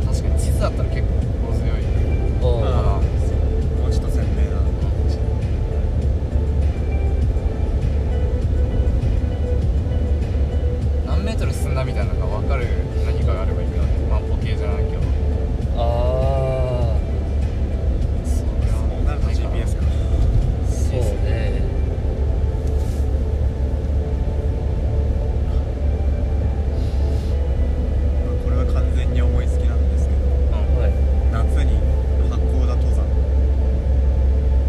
い確かに地図だったら結構心強いうんかなもうちょっと鮮明な何メートル進んだみたいなのが分かる何かがあればいいけどねまあボケじゃないけどあそれはそうなると GPS かあそうねこれは完全に思いつきなんですけどはい夏に八甲田登山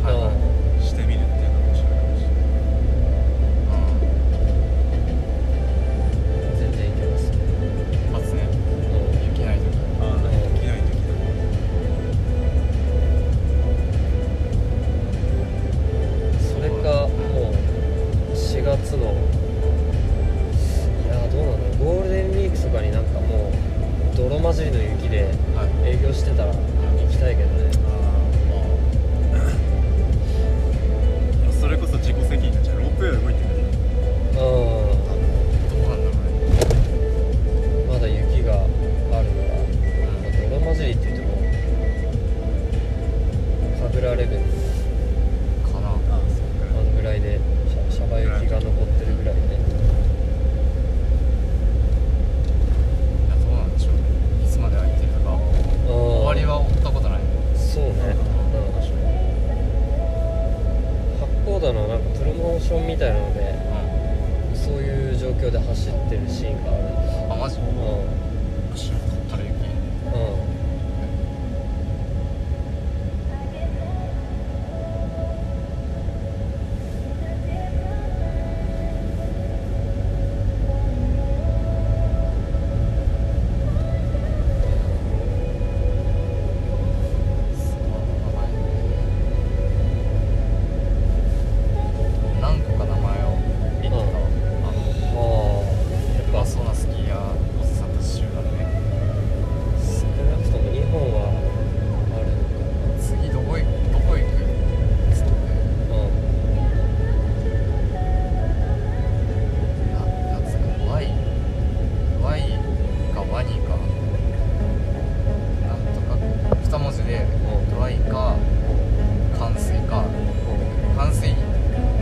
はいはいしてみるっていうのも面白いかもしれないうん全然いけますね一発ねうん雪ない時ああなんかできないできないそれかもう4月のいやどうなんだろうゴールデンウィークとかになんかもう泥混じりの雪ではい営業してたら行きたいけどねああそれこそ自己責任だじゃんロープウェイ動いてるうんどうなんだろうねまだ雪があるのは、まあ、泥混じりって言っても神楽レベルかなあああそのぐらいでシャシャバ雪が残ってるぐらいで、いやどうなんでしょうねいつまで空いてるとかうん、終わりは追ったことないそうね、うん、確かに八甲田のなんかプロモーションみたいなのでうそういう状況で走ってるシーンがあるんあマジうんたら雪うん何個か名前を言ってたわあのまあやっぱそうな好きやおじさんたち集団ね少なくとも日本はあるの次どこ行くどこ行くっつってかなうんななんつうかワイワイかワニかなんとか二文字でワイか冠水か冠水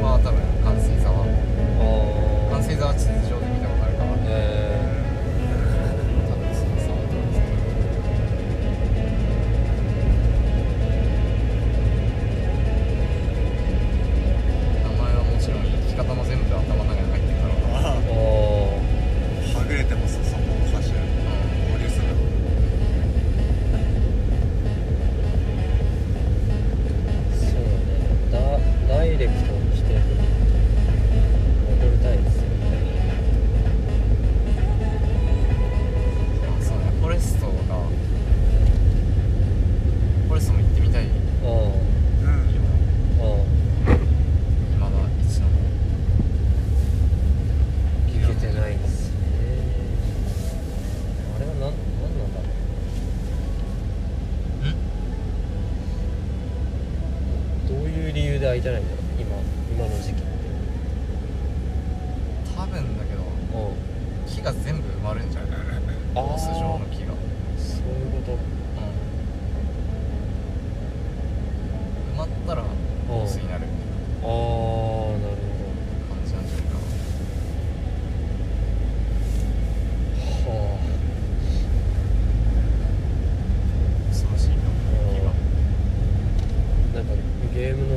は多分冠水沢ああ冠水沢は地図上で見たことあるからねえ多分その沢だと思うんですけど名前はもちろん生き方も全部頭の中に入ってるからっか あー、ああはぐれてもそそこを走る合流するあそうねダダイレクトにして戻りたいですよねあそうねフォレストがフォレストも行ってみたいようんうんうん今だ一の行けてないですねあれはなんなんなんだろうどういう理由で空いてないんだろう今今の時期多分だけどう木が全部埋まるんじゃないあーコース上の木が、うんそういうことん、埋まったらコースになるああなる感じなんじゃないかほどは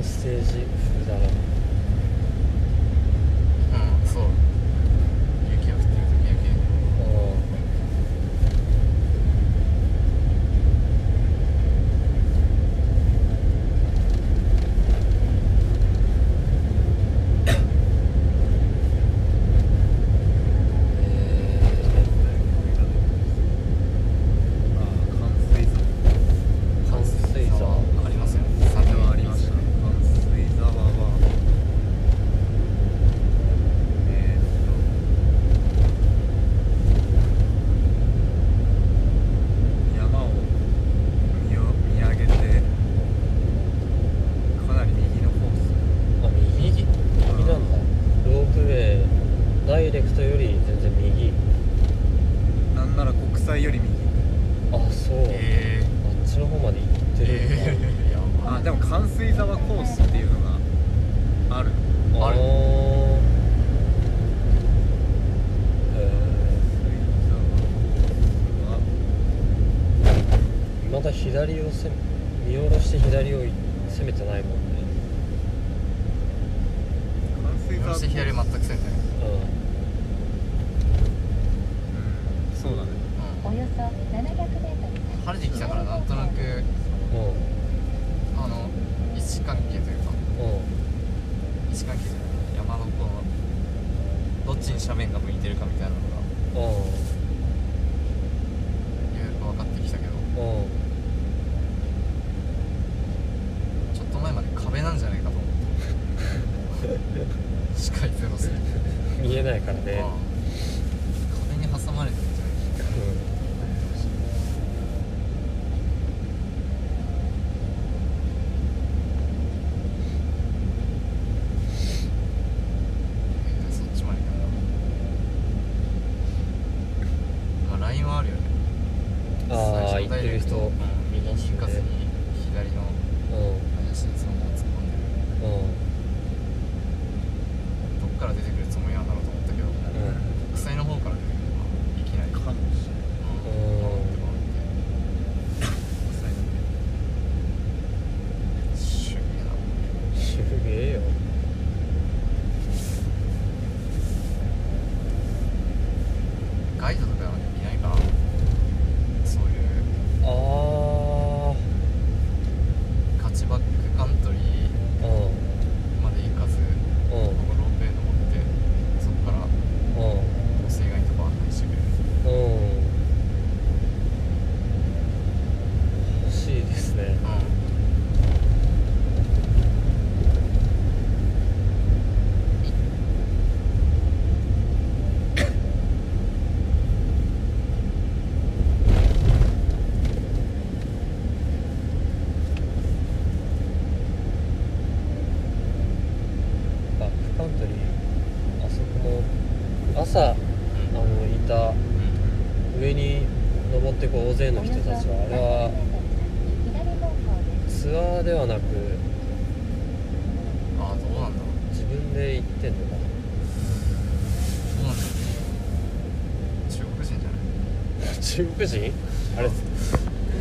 ステージ風だろううんそう雪が降ってる時だけ冠水沢ありますよね酒はありましたね関水沢はえーっと山を見よ見上げてかなり右のコースあ右右なんだロープウェイダイレクトより全然右なんなら国際より右あそう、えあっちの方まで行ってるんだ、ー、やばあでも関水沢コースっていうのがあるああれのー関水沢コースはえー、まだ左をせ見下ろして左を攻めてないもんね関水沢そしコースて左全くせんねううんそうだねうおよそ700メートルん晴れてきたからなんとなくんもあの位置関係というかうも位置関係じゃない山のこのどっちに斜面が向いてるかみたいなのがううんいろいろ分かってきたけどうんちょっと前まで壁なんじゃないかと思って視界ゼロすぎて、 見えないからねああ壁に挟まれてるんじゃないかそっちまで行くんだあラインはあるよねうんああ最初行のってダイレる人クト見ま右すに行かずねに左のうん林にそのまま突っ込んでるうどっから出てくるつもりなんだろうと思ったけどんうん国際の方から出てくるのかいきなりかもしれないうんうんって思って国際だねすげえなすげえよガイドとかいないかなそういう 아,あ 어,あ勝ちバックカントリー 어,うんまで行かずうこんこロープウェイ登ってそこから 어,う構成外とか案内してくれるんうん欲しいですねバックカントリーあそこも朝あのいた上に登ってこう大勢の人たちはあれは左方向ですツアーではなくああどうなんだろう自分で行ってんのかなどうなんだろう中国人じゃない中国人あれよ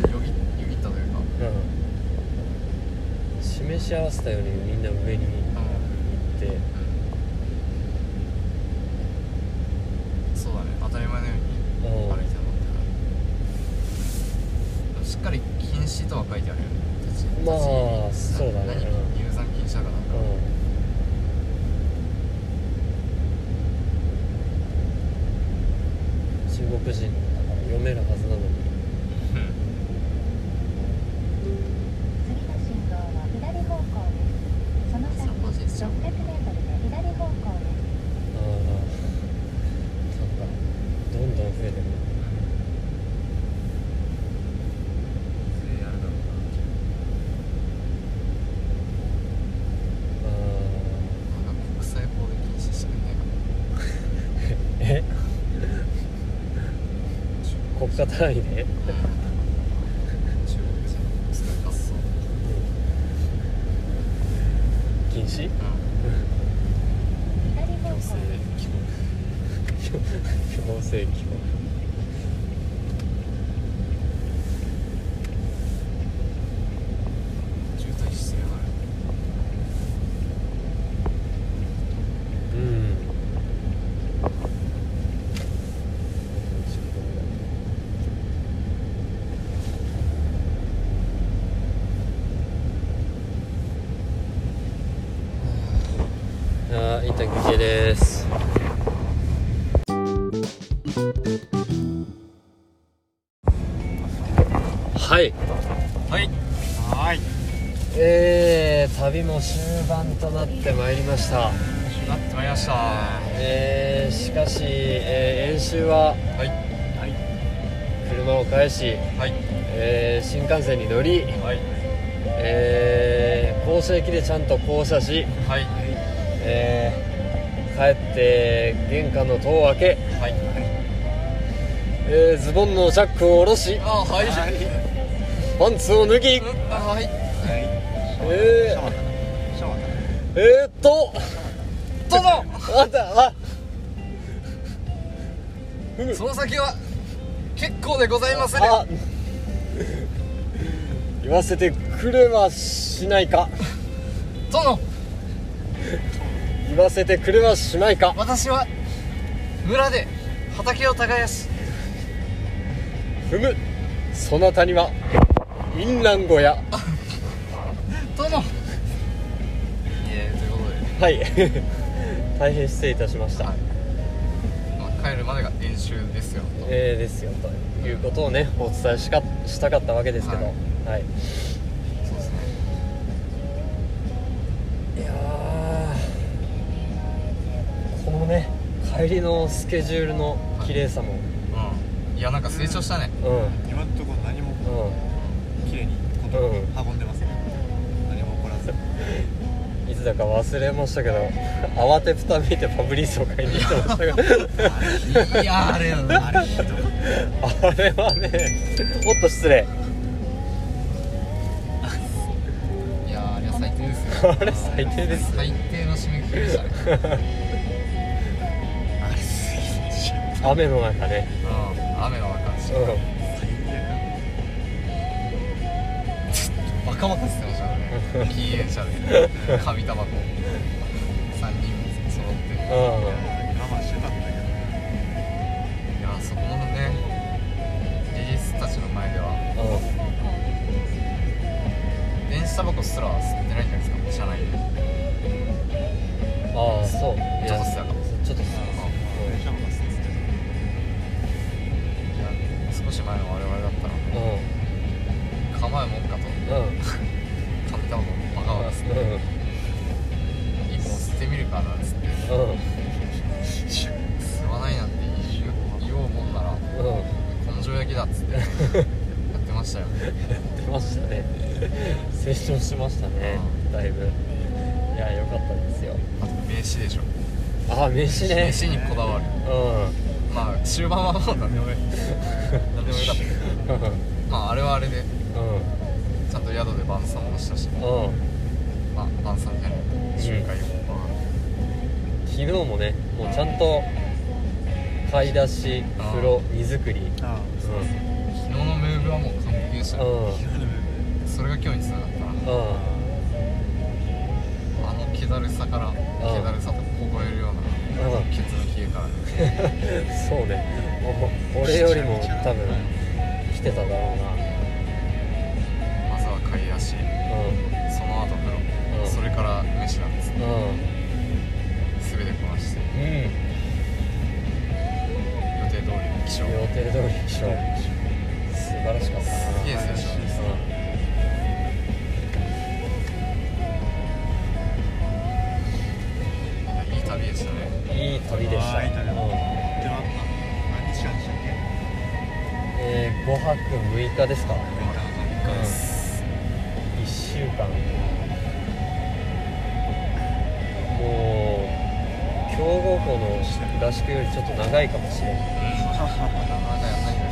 ぎよぎったというかうん示し合わせたようにみんな上に行ってそうだね当たり前のように歩いてたのってなしっかり禁止とは書いてあるよね立ち入りまあなそうだね何うん入山禁止だかなんかう中国人だから読めるはずなのに次の信号は左方向ですその先そこです600メートルで左方向ですああなんかどんどん増えてくるそれやるだろうなあなんか国際法で禁止してくんないかなあえ国家単位で中国人のスカイ滑走禁止左方向強制です帰国強制帰国渋滞してるからうんはいはいはいえー、旅も終盤となってまいりましたなってまいりましたえー、しかし、えー演習ははい車を返し、はいえー新幹線に乗り、はいえー、降車駅でちゃんと降車し、はいえー帰って玄関の戸を開け、はいえーズボンのジャックを下ろしあはいはいパンツを脱ぎ、はいえーえーっとどうぞあんたあその先は結構でございまするあ言わせてくれはしないか殿言わせてくれはしないか私は村で畑を耕しふむそなたには淫乱語や殿いえということで、はい大変失礼いたしました、まあ、帰るまでが練習ですよえーですよということをねお伝えしかしたかったわけですけど、ははいいそうですねいやーこのね帰りのスケジュールの綺麗さも、うんいやなんか成長したねうん今のところ何もう綺麗にこと運んでますね何も起こらずんいつだか忘れましたけど 慌てふためいてファブリーズを買いに行ってましたけどいやあれあれひどいあれはねおっと失礼いや あれは最低ですよあれ最低です最低の締め切りでしたね雨の中ねうん雨の中うんバカバカ吸ってましたからね禁煙車で紙タバコ3人も揃っていうん我慢してたんだけやあそこのねリリースたちの前ではうん電子タバコすら吸ってないんじゃないですか車内でああそうちょっと吸ってたかもちょっとさど電車もバスですいや少し前の我々だったらうん構えもんかとうん紙タバコバカバカ吸って一本吸ってみるかなんつってうんうん吸わないなんて言おうもんならうん根性焼きだっつっ てやってましたよ出ましたね 成長しましたねだいぶいや良かったですよあと名刺でしょああ飯名ね刺にこだわるうまあ終盤はもう何でもよ 何でもよかったけどんまああれはあれで うんちゃんと宿で晩餐もしたしうんまあ晩餐じゃない集会もま昨日もねもうちゃんと買い出しあー風呂荷造りああうんあ昨日のムーブはもう完璧でしたねうんそれが今日につながったなうんあの気だるさから気だるさと凍えるよううなんケツの冷えからねそうねもう俺よりも多分来てただろうなまずは買い出しうその後風う呂んそれから飯なんですんうん全てこなしてうん予定通りの起床予定通りでしょ素晴らしかったなすげえ青春ですいい旅でしたねうんいい旅でしたあーいい旅だうんでは何日間でしたっけえー、5泊6日ですか、うん、これから1週間もう強豪校の合宿よりちょっと長いかもしれない、なかなかやんないんだうね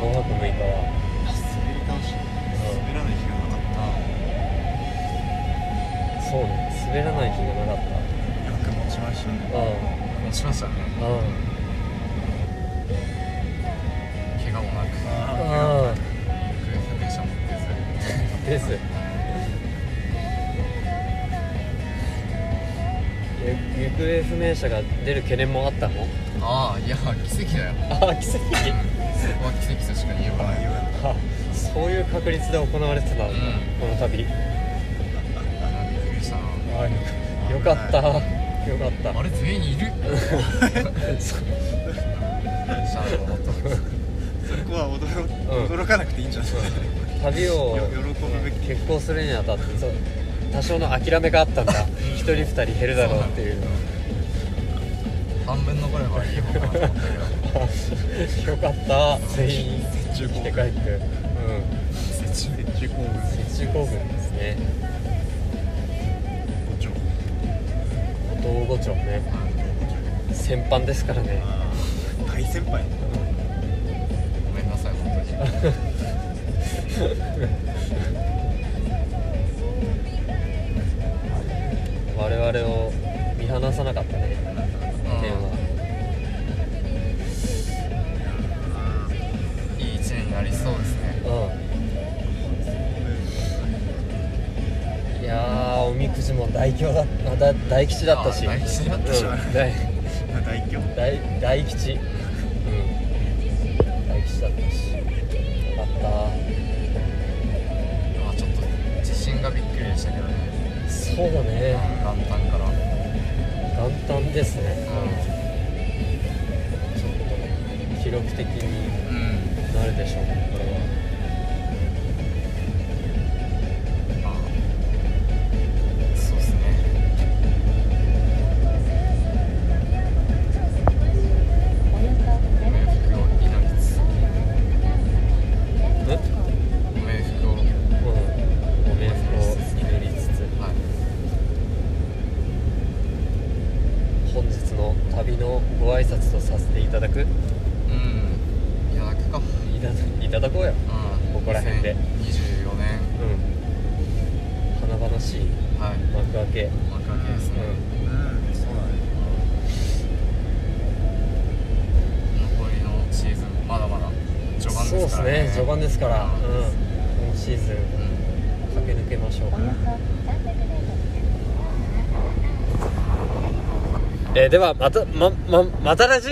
ん、5泊6日は滑り倒して滑らない日がなかったそうね滑らない日がなかっよく持ちましたねた落ちましたねうんうん怪我もなくうん行方不明者も出ずですえ行方不明者が出る懸念もあったの ああいや奇跡だよああ奇跡そこは奇跡としか言いようがないあそういう確率で行われてたんだ、うんこの旅あびっくりしたなよかったよかったあれ全員いるシャーロットですそれこは驚,、ん驚かなくていいんじゃない、旅をよ喜ぶべき結婚するにあたってそう多少の諦めがあったんだ一人二人減るだろうっていう半分残ればいい方かなと思ったけどよかった全員中来て帰ってうん雪中行軍雪中興奮ですね五丁五島五丁ね先般ですからねあー大先輩ごめんなさい本当に我々を見放さなかったね点は、うんいい一年になりそうですねうんいやーおみくじも大凶だあだ大吉だったしあ大吉だったしうん大大凶大大吉、うん、大吉だったしよかっまあちょっと地震がびっくりでしたけどねたそうね元旦からうん元旦ですねちょっと記録的にうんなるでしょうねこれはまあそうですねおよそ冥福を祈りつつ700方向です。冥福をうんお冥福を祈りつつはい本日の旅のご挨拶とさせていただくいうんいただくかただいただこうやうんここら辺で2024年うん華々しいはい幕開け幕開けですねううんそうだね残りのシーズンまだまだ序盤そうでですすからねね序盤ですから、うん、う今シーズンん駆け抜けましょうおよそ300メートルです。えーではまたまままた来週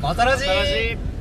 また来週